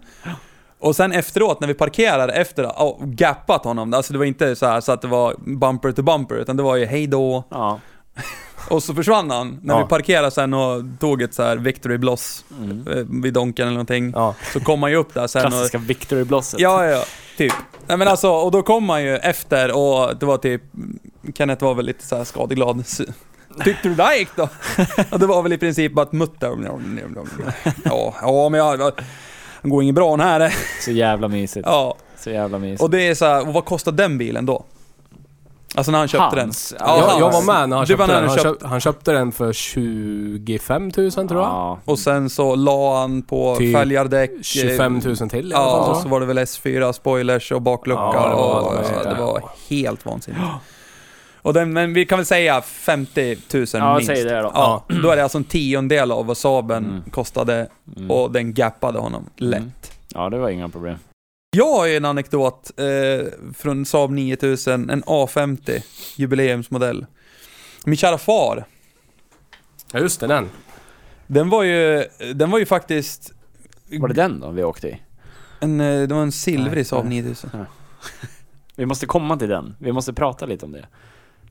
Och sen efteråt, när vi parkerar efter att ha gappat honom, alltså det var inte så här så att det var bumper to bumper, utan det var ju hej då.
Ja.
Och så försvann han. När
Ja.
vi parkerade sen och tog ett så här victory bloss
Mm.
eh, vid Donken eller någonting,
Ja.
så kom han ju upp där sen och
Klassiska victory blosset.
Ja, ja, ja. Typ. Nej men alltså, och då kom han ju efter och det var typ, Kenneth var väl lite så här skadeglad. S- Tyckte du det där gick då? Och det var väl i princip bara att mutta. Ja, ja men jag... jag- Den går inget bra den här.
Så jävla mysigt.
Ja,
Så jävla mysigt.
och det är så här, och vad kostade den bilen då? Alltså när han köpte
Hans.
den?
Ja,
jag, jag
hans.
var med när han
Du var
köpte
när
den. Han,
du
köpt, han köpte den för 25 000 tror jag.
Ja.
Och sen så la han på
Typ
fälgardäck. eh,
25 000 till i alla
Ja,
fall
och
tror
så
jag.
var det väl S4, spoilers och baklucka
Ja, det var
och
allt
alltså,
möjligt,
det
ja.
var helt vansinnigt. Och den, men vi kan väl säga 50 000
Ja,
minst.
säg det då.
Ja, då är det alltså en tiondel av vad Saaben
Mm.
kostade
Mm.
och den gappade honom lätt.
Mm. Ja, det var inga problem.
Jag har ju en anekdot eh, från Saab 9000, en A50 jubileumsmodell. Min kära far,
Ja, just det, den.
den var ju, den var ju faktiskt Mm.
Var det den då vi åkte i?
en, eh, det var en silvrig
Nej,
Saab
nej.
9000.
Vi måste komma till den. Vi måste prata lite om det.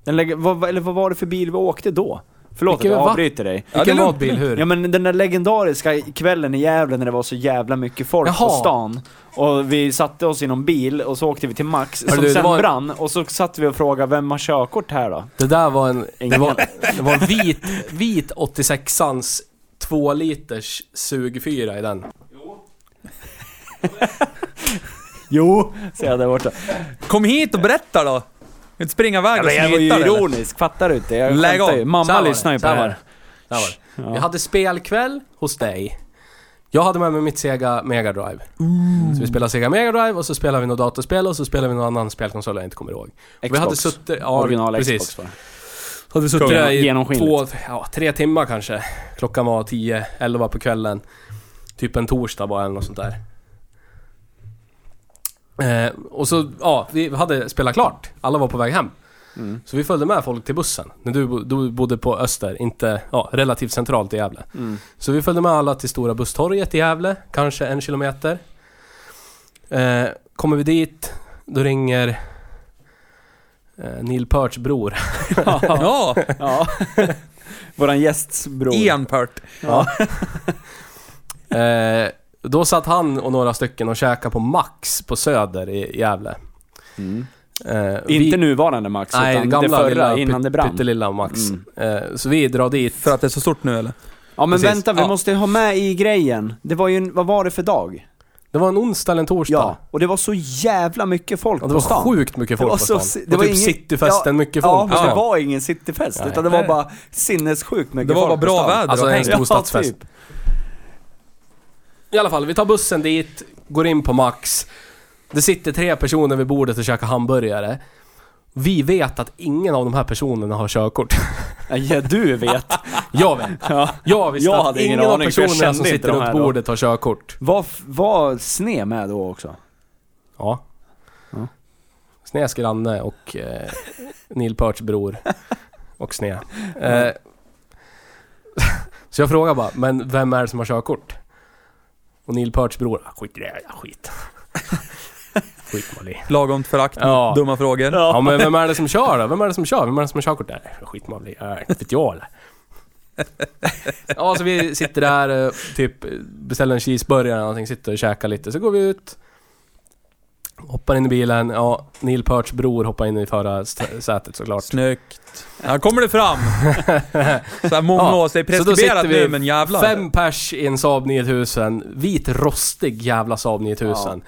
Den lägger, vad, vad- eller vad var det för bil vi åkte då? Förlåt
Vilken-
att jag
va?
avbryter dig.
Ja, det är
Vilken
lugnt.
var bil hur?
Ja men den där legendariska kvällen i Gävle när det var så jävla mycket folk på
Jaha.
stan. Och vi satte oss i någon bil och så åkte vi till Max som
du, det
sen
var-
brann. Och så satt vi och frågade vem har körkort här då?
Det där var en... Det
Ingen.
var, det var en vit, vit 86ans 2 liters sugfyra i den.
Jo, säger jag där borta.
Kom hit och berätta då! Inte springa iväg och
jag var ju
smita dig, eller?
ironisk, fattar du inte? Jag
Lägg
skämtar
av.
ju.
Så här
Mamma
var det,
lyssnar ju på
så
det
här var
här.
Där var det.
Ja.
Vi hade spelkväll hos dig. Jag hade med mig mitt Sega Mega Drive. Så vi spelade Sega Mega Drive och så spelade vi något datorspel och så spelade vi någon annan spelkonsol jag inte kommer ihåg.
Xbox.
Vi hade suttit... Ja,
Original
precis.
Xbox var det.
Hade suttit
Kungen.
där i två,
Genomskinligt.
ja, tre timmar kanske. Klockan var 10, 11 på kvällen. Typ en torsdag bara eller något sånt där. Eh, och så, ja, vi hade spelat klart. Alla var på väg hem.
Mm.
Så vi följde med folk till bussen. När du, bo- du bodde på Öster, inte, ja, relativt centralt i Gävle.
Mm.
Så vi följde med alla till Stora busstorget i Gävle, kanske en kilometer. Eh, kommer vi dit, då ringer eh, Neil Pearts bror.
Ja,
Ja. Våran gästs bror.
Ian Pert.
Eh, då satt han och några stycken och käkade på Max på Söder i Gävle.
Mm.
Eh,
Inte nuvarande Max,
Nej,
utan
gamla
det förra
lilla,
innan
pyt-
det brann. Mm.
pyttelilla Max. Eh, så vi drar dit.
För att det är så stort nu eller?
Ja men
Precis.
vänta, vi
Ja.
måste ha med i grejen. Det var ju, en, vad var det för dag?
Det var en onsdag eller en torsdag.
Ja, och det var så jävla mycket folk
Ja, det
på
var
stan.
sjukt mycket folk
var
på
så
stan.
si-
det var typ cityfesten,
ja,
mycket
Ja,
folk på
men det
stan.
var ingen cityfest,
Nej.
utan det var bara sinnessjukt mycket
Det var bara
folk på
bra
stan. typ.
väder
Alltså,
och häng.
en stor stadsfest. I alla fall, vi tar bussen dit, går in på Max. Det sitter tre personer vid bordet och käkar hamburgare. Vi vet att ingen av de här personerna har körkort.
Ja, ja, du vet.
Jag vet.
Ja.
Jag visste
Jag
att
hade ingen
ingen av
aning, för jag
personerna som
kände inte
sitter
de
runt
här då.
bordet har körkort.
Var, f- var Sne med då också?
Ja.
Ja.
Snes granne och eh, Neil Pearts bror. Och Sne. Eh, så jag frågar bara, men vem är det som har körkort? Och Neil Pearts bror, "Ah, skit i det, ja, skit. skit Molly.
Lagomt förakt,
Ja.
dumma frågor.
Ja men vem är det som kör då? Vem är det som kör? Vem är det som har körkort där? Skit man blir, äh, inte vet jag eller? Ja så vi sitter där, eh, typ beställer en cheeseburgare eller någonting, sitter och käkar lite. Så går vi ut. Hoppar in i bilen, ja Neil Pearts bror hoppar in i förra st- sätet såklart.
Snyggt. Här kommer det fram. Så här många
Ja,
år, det är
så då
preskriberat
sitter vi
nu men jävlar.
Fem pers i en Saab 9000, vit rostig jävla Saab 9000.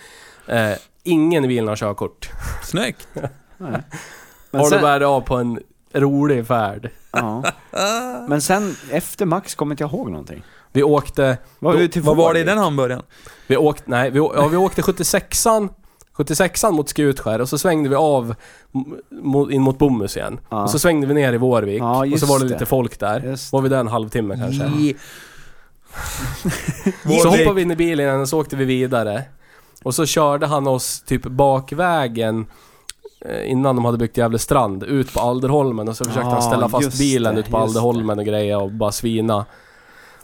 Eh, ingen i bilen har körkort.
Snyggt.
Men
har
sen-
du bär av på en rolig färd.
Ja. Men sen, efter Max kommer inte jag ihåg någonting.
Vi åkte...
Var
då-
vi ute i
Vad var det i
Fårvik?
den hamburgaren?
Vi åkte, nej, vi, å- ja, vi åkte 76an 76an mot Skutskär och så svängde vi av m- mot, in mot Bomhus igen.
Ja.
Och så svängde vi ner i Vårvik
Ja,
och så
just
var det
det.
lite folk där.
Just
Var vi där en halvtimme kanske. Så
Vårvik.
hoppade vi in i bilen igen och så åkte vi vidare. Och så körde han oss typ bakvägen eh, innan de hade byggt Gävle strand, ut på Alderholmen och så försökte
Ja,
han ställa fast
just
bilen
det,
ut på
just
Alderholmen och grejer och bara svina.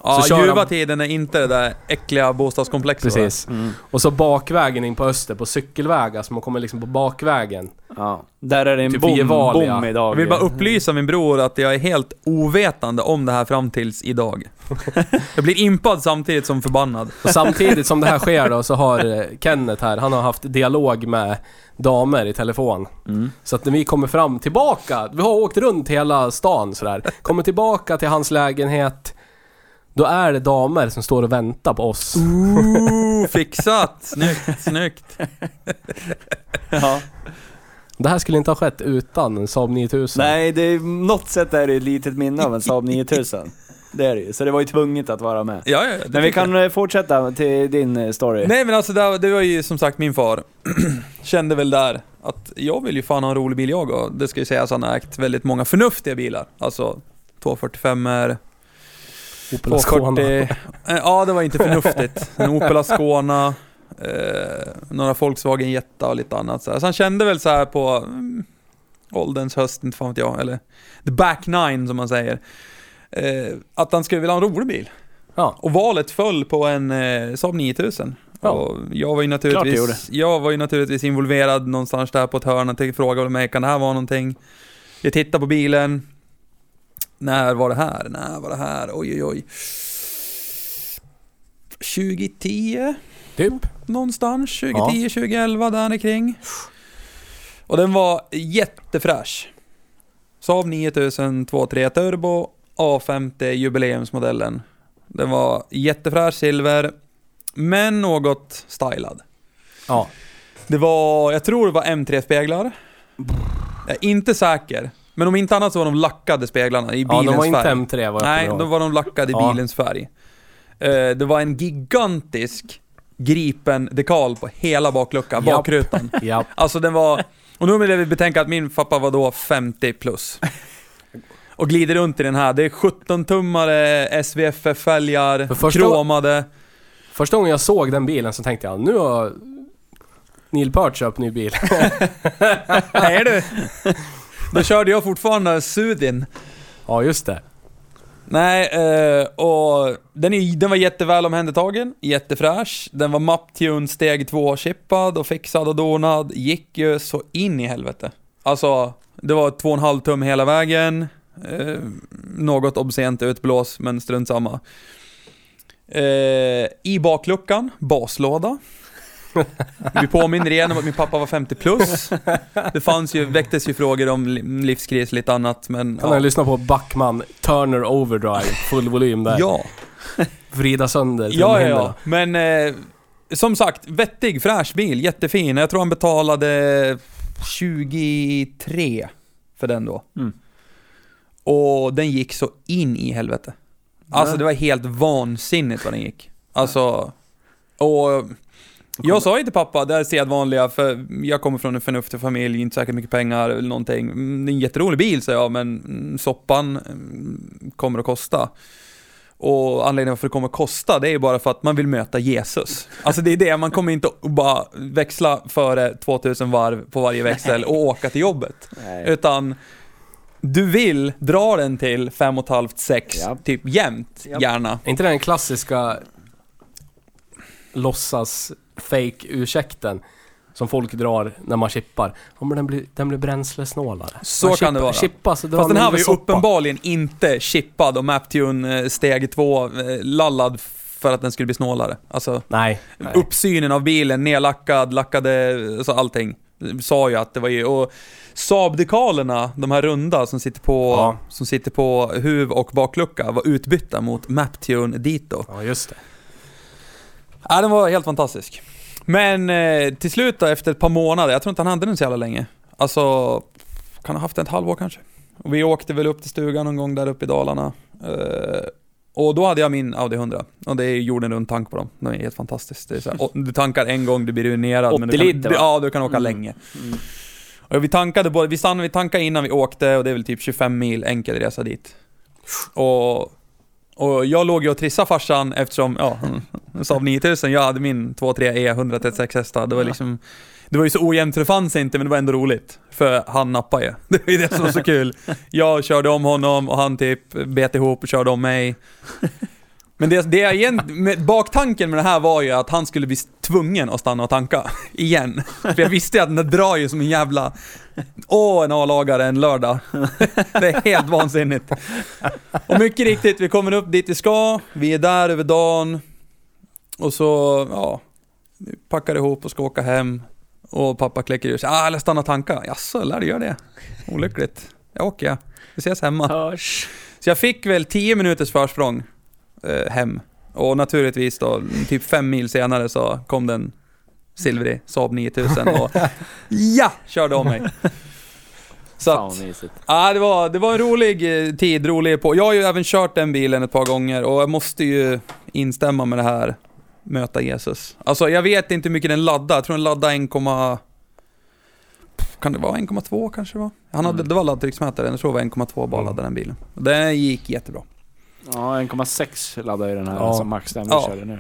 Ja,
Så kör
ljuva
han-
tiden är inte det där äckliga bostadskomplexet. va?
Precis.
Mm.
Och så bakvägen in på öster på cykelvägar, så man kommer liksom på bakvägen.
Ja. Där är det en
Typ
bom,
vid Gevalia.
bom idag.
Jag vill bara upplysa min bror att jag är helt ovetande om det här fram tills idag. Jag blir impad samtidigt som förbannad.
Och samtidigt som det här sker då så har eh, Kenneth här, han har haft dialog med damer i telefon.
Mm.
Så att när vi kommer fram tillbaka, vi har åkt runt hela stan sådär, kommer tillbaka till hans lägenhet, då är det damer som står och väntar på oss.
Ooh, fixat! Snyggt, snyggt.
Ja.
Det här skulle inte ha skett utan en Saab 9000.
Nej, det är, något sätt är det ett litet minne av en Saab 9000. Det är det ju, så det var ju tvunget att vara med.
Ja, ja, det
Men vi
tycker
kan eh, fortsätta till din eh, story.
jag. Nej men alltså det, här- det var ju som sagt min far. Kände väl där att jag vill ju fan ha en rolig bil jag och det ska ju sägas han har ägt väldigt många förnuftiga bilar. Alltså 245 er
Opel Ascona.
240... Eh, Ja, det var inte förnuftigt. En Opel Ascona, eh, några Volkswagen Jetta och lite annat. Så, här. så han kände väl så här på mm, ålderns höst, inte fan vet jag, eller the back nine som man säger. Eh, att han skulle vilja ha en rolig bil.
Ja.
Och valet föll på en eh, Saab 9000.
Ja.
Och jag, var ju
Klart det gjorde.
naturligtvis, jag var ju naturligtvis involverad någonstans där på ett hörn. Jag frågade mig, kan det här vara någonting? Jag tittar på bilen. När var det här? När var det här? Oj, oj, oj. 2010
Typ.
någonstans. 2010, 2011 där kring. Och den var jättefräsch. Saab 9000 2.3 turbo A50 jubileumsmodellen. Den var jättefräsch silver, men något stylad.
Ja.
Det var, jag tror det var M3-speglar. Jag är inte säker. Men om inte annat så var de lackade speglarna i
ja,
bilens
de var inte
färg.
M3 vad jag
Nej,
kommer ihåg.
då var de lackade i
Ja.
bilens färg. Eh, det var en gigantisk gripen dekal på hela bakluckan,
Japp.
bakrutan.
Ja.
Alltså den var... Och nu vill jag betänka att min pappa var då 50 plus. Och glider runt i den här. Det är 17-tummare
För
SVFF-fälgar,
första-
kromade.
Första gången jag såg den bilen så tänkte jag, nu har Neil Peart köpt ny bil.
Nej du! Då körde jag fortfarande Sudin.
ja, just det.
Nej, eh, och den, är, den var jätteväl omhändertagen, jättefräsch. Den var MapTune steg 2-chippad och fixad och donad. Gick ju så in i helvete. Alltså, det var 2,5 tum hela vägen. Eh, något obscent utblås, men strunt samma. Eh, I bakluckan, baslåda. Vi påminner igen om att min pappa var 50 plus. Det fanns ju, väcktes ju frågor om li- livskris lite annat, men...
Kan ni lyssna på Backman Turner Overdrive, full volym där.
ja.
Vrida sönder
Ja, ja,
trumhinnorna.
ja. Men eh, som sagt, vettig, fräsch bil, jättefin. Jag tror han betalade 23 för den då.
Mm.
Och den gick så in i helvete. Alltså det var helt vansinnigt vad den gick. Alltså, och jag sa ju till pappa, det här är sedvanliga, för jag kommer från en förnuftig familj, inte säkert mycket pengar eller någonting. Mm, Det är en jätterolig bil, sa jag, men mm, soppan mm, kommer att kosta. Och anledningen varför det kommer att kosta, det är ju bara för att man vill möta Jesus. Alltså det är det, man kommer inte att bara växla före 2000 varv på varje växel och åka till jobbet.
Nej.
Utan du vill dra den till 5,5-6,
Ja.
typ jämnt
Ja.
gärna.
Är inte den klassiska låtsas fake ursäkten som folk drar när man chippar? Ja men den blir, den blir bränslesnålare.
Så
man
kan det vara.
Chippa, så drar
Fast den här var ju
mindre soppa.
uppenbarligen inte chippad och Maptune eh, steg 2-lallad för att den skulle bli snålare. Alltså,
Nej. nej.
uppsynen av bilen, nedlackad, lackade, alltså allting. Sa ju att det var ju, och Saab-dekalerna, de här runda som sitter på,
Ja.
som sitter på huv och baklucka, var utbytta mot Maptune Dito.
Ja just det.
Ja, den var helt fantastisk. Men eh, till slut då, efter ett par månader, jag tror inte han hade den så jävla länge. Alltså, kan ha haft den ett halvår kanske. Och vi åkte väl upp till stugan någon gång där uppe i Dalarna. Eh, Och då hade jag min Audi 100. Och det är ju jorden runt tank på dem. De är helt fantastiskt. Det är så här, och du tankar en gång, du blir ruinerad.
80
du kan,
liter, va? Mm.
Ja, du kan åka länge. Och vi tankade både, vi stannade, vi tankade innan vi åkte och det är väl typ 25 mil enkel resa dit. Och, och jag låg ju och trissade farsan eftersom, ja, mm, Saab 9000, jag hade min 23 E 136 hästar. Det var liksom, det var ju så ojämnt så det fanns inte men det var ändå roligt. För han nappade ju. Det var ju det som var så kul. Jag körde om honom och han typ bet ihop och körde om mig. Men det, det jag egentligen, med, baktanken med det här var ju att han skulle bli tvungen att stanna och tanka. Igen. För jag visste ju att den där drar ju som en jävla... Åh, en A-lagare en lördag. Det är helt vansinnigt. Och mycket riktigt, vi kommer upp dit vi ska. Vi är där över dagen. Och så, ja. Vi packar ihop och ska åka hem. Och pappa kläcker ur sig. Ah, jag stanna och tanka. Jaså, lär du göra det? Olyckligt. Jag åker jag. Vi ses hemma.
Hörs.
Så jag fick väl 10 minuters försprång eh, hem. Och naturligtvis då, typ fem mil senare så kom den silvrig Saab 9000 och ja, körde om mig. Så
Fan
att,
vad mysigt.
ja, det, var, det var en rolig eh, tid, rolig på. Jag har ju även kört den bilen ett par gånger och jag måste ju instämma med det här möta Jesus. Alltså jag vet inte hur mycket den laddar, jag tror den laddar 1, kan det vara 1,2 kanske det var? Han hade,
Mm.
Det var laddtrycksmätare, jag tror det var 1,2 bara
Mm.
laddade den bilen. Den gick jättebra.
Ja, 1,6 laddar ju den här
Ja.
som max den vi
Ja.
körde nu.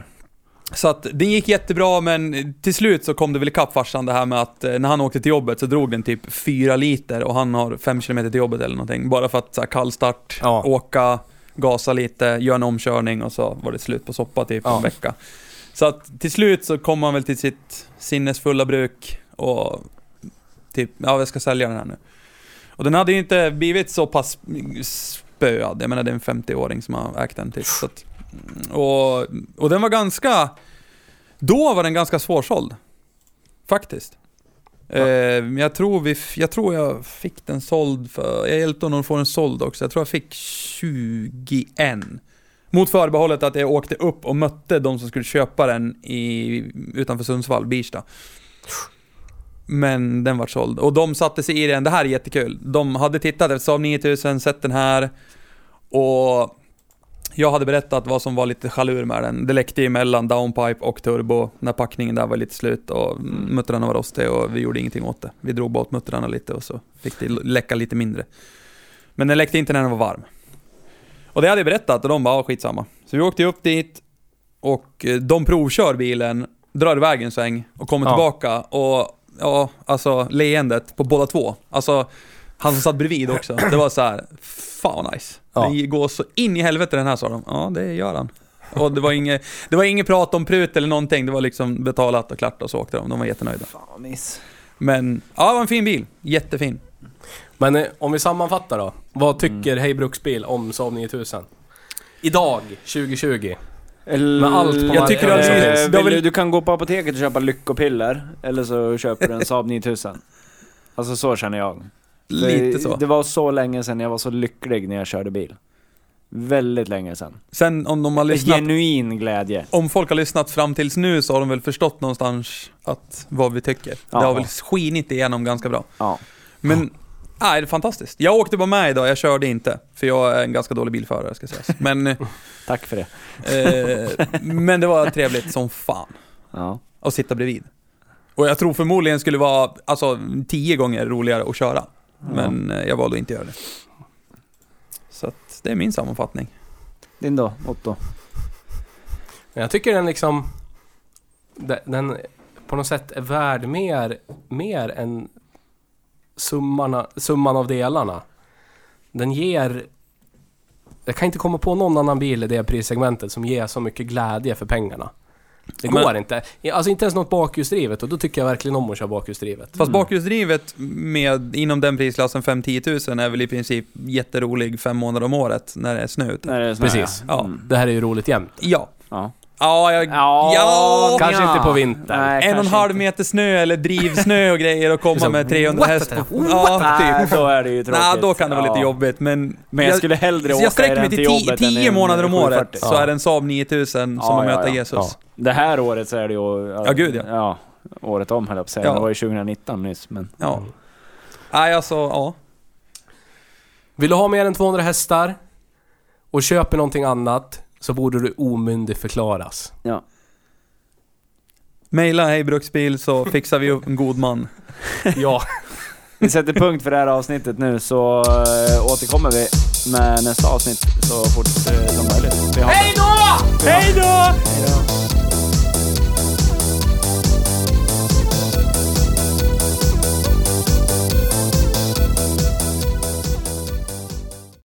Så att det gick jättebra men till slut så kom det väl ikapp farsan det här med att eh, när han åkte till jobbet så drog den typ 4 liter och han har 5 km till jobbet eller någonting. Bara för att så här, kallstart,
Ja.
åka, gasa lite, göra en omkörning och så var det slut på soppa typ
Ja.
en vecka. Så att till slut så kom han väl till sitt sinnesfulla bruk och typ, ja jag ska sälja den här nu. Och den hade ju inte blivit så pass spöad, jag menar det är en 50-åring som har ägt den typ. Så att, och, och den var ganska, då var den ganska svårsåld. Faktiskt. Eh, jag, tror vi, f- jag tror jag fick den såld för, jag hjälpte honom att få den såld också, jag tror jag fick 21. Mot förbehållet att jag åkte upp och mötte de som skulle köpa den i, utanför Sundsvall, Birsta. Men den var såld. Och de satte sig i den, det här är jättekul. De hade tittat efter Saab 9000, sett den här. Och jag hade berättat vad som var lite chalur med den. Det läckte ju mellan downpipe och turbo när packningen där var lite slut och muttrarna var rostiga och vi gjorde ingenting åt det. Vi drog bort muttrarna lite och så fick det läcka lite mindre. Men den läckte inte när den var varm. Och det hade jag berättat och de bara, "Ja, skitsamma. Så vi åkte upp dit och eh, de provkör bilen, drar iväg en sväng och kommer
Ja.
tillbaka och ja, alltså leendet på båda två. Alltså han som satt bredvid också. Det var så här, fan vad nice.
Ja.
Den går så in i helvete den här sa de. Ja, det gör han. Och det var inget, det var inget prat om prut eller någonting. Det var liksom betalat och klart och så åkte de. De var jättenöjda.
Fan, miss.
Men ja, det var en fin bil. Jättefin.
Men eh, om vi sammanfattar då. Vad tycker
Mm.
Hej Bruksbil om Saab 9000? Idag, 2020. Med allt på
jag
marknaden
tycker du, har
som
lite-
finns.
Eh, vill,
Det har väl-
du, du kan gå på apoteket och köpa lyckopiller, eller så köper du en Saab 9000. Alltså så känner jag.
Lite
det,
så.
Det var så länge sedan jag var så lycklig när jag körde bil. Väldigt länge sedan.
Sen om de har lyssnat,
Genuin glädje.
om folk har lyssnat fram tills nu så har de väl förstått någonstans att vad vi tycker. Det
Ja.
har väl skinit igenom ganska bra.
Ja.
Men, nej, det är fantastiskt. Jag åkte bara med idag, jag körde inte. För jag är en ganska dålig bilförare ska sägas. Men, eh,
Tack för det.
men det var trevligt som fan.
Ja.
och sitta bredvid. Och jag tror förmodligen skulle vara alltså, tio gånger roligare att köra. Men eh, jag valde att inte göra det. Så att det är min sammanfattning.
Din då, Otto?
Men Jag tycker den liksom... de- Den på något sätt är värd mer, mer än summarna, summan av delarna. Den ger... Jag kan inte komma på någon annan bil i det prissegmentet som ger så mycket glädje för pengarna. Det
Men-
går inte. Alltså inte ens något bakhjulsdrivet och då tycker jag verkligen om att köra bakhjulsdrivet.
Mm.
Fast bakhjulsdrivet med, inom den prisklassen 5-10 000 är väl i princip jätterolig fem månader om året när det är snö ute.
När det är sån här,
Precis.
Ja.
Ja.
Mm.
Det här är ju roligt jämt.
Ja.
ja.
Ja, jag...
Ja,
ja.
Kanske inte på vintern.
Nej,
en och en
kanske
halv
inte.
meter snö eller drivsnö och grejer och komma
Liksom,
med 300
what
häst.
the-
Ja,
Nej,
typ.
då är det ju tråkigt.
Nej, då kan det vara lite
Ja.
jobbigt men...
Men jag, skulle hellre
Så
åka
Alltså, jag
i
sträcker
den
mig till
jobbet än i
10
en
månader om året
740.
så är det en Saab 9000 som
Ja,
har
ja,
möter
ja.
Jesus.
Ja.
Det här året så är det ju...
Ja, gud, ja.
året om höll jag på att säga.
Ja.
Det var ju 2019 nyss, men...
Ja. Nej, alltså, ja.
Vill du ha mer än 200 hästar och köper någonting annat så borde du omyndigförklaras.
Ja.
Maila Hej Bruksbil så fixar vi upp en god man.
Ja,
Vi sätter punkt för det här avsnittet nu så eh, återkommer vi med nästa avsnitt så fort eh, som möjligt. Vi har... Hej då! Hej då!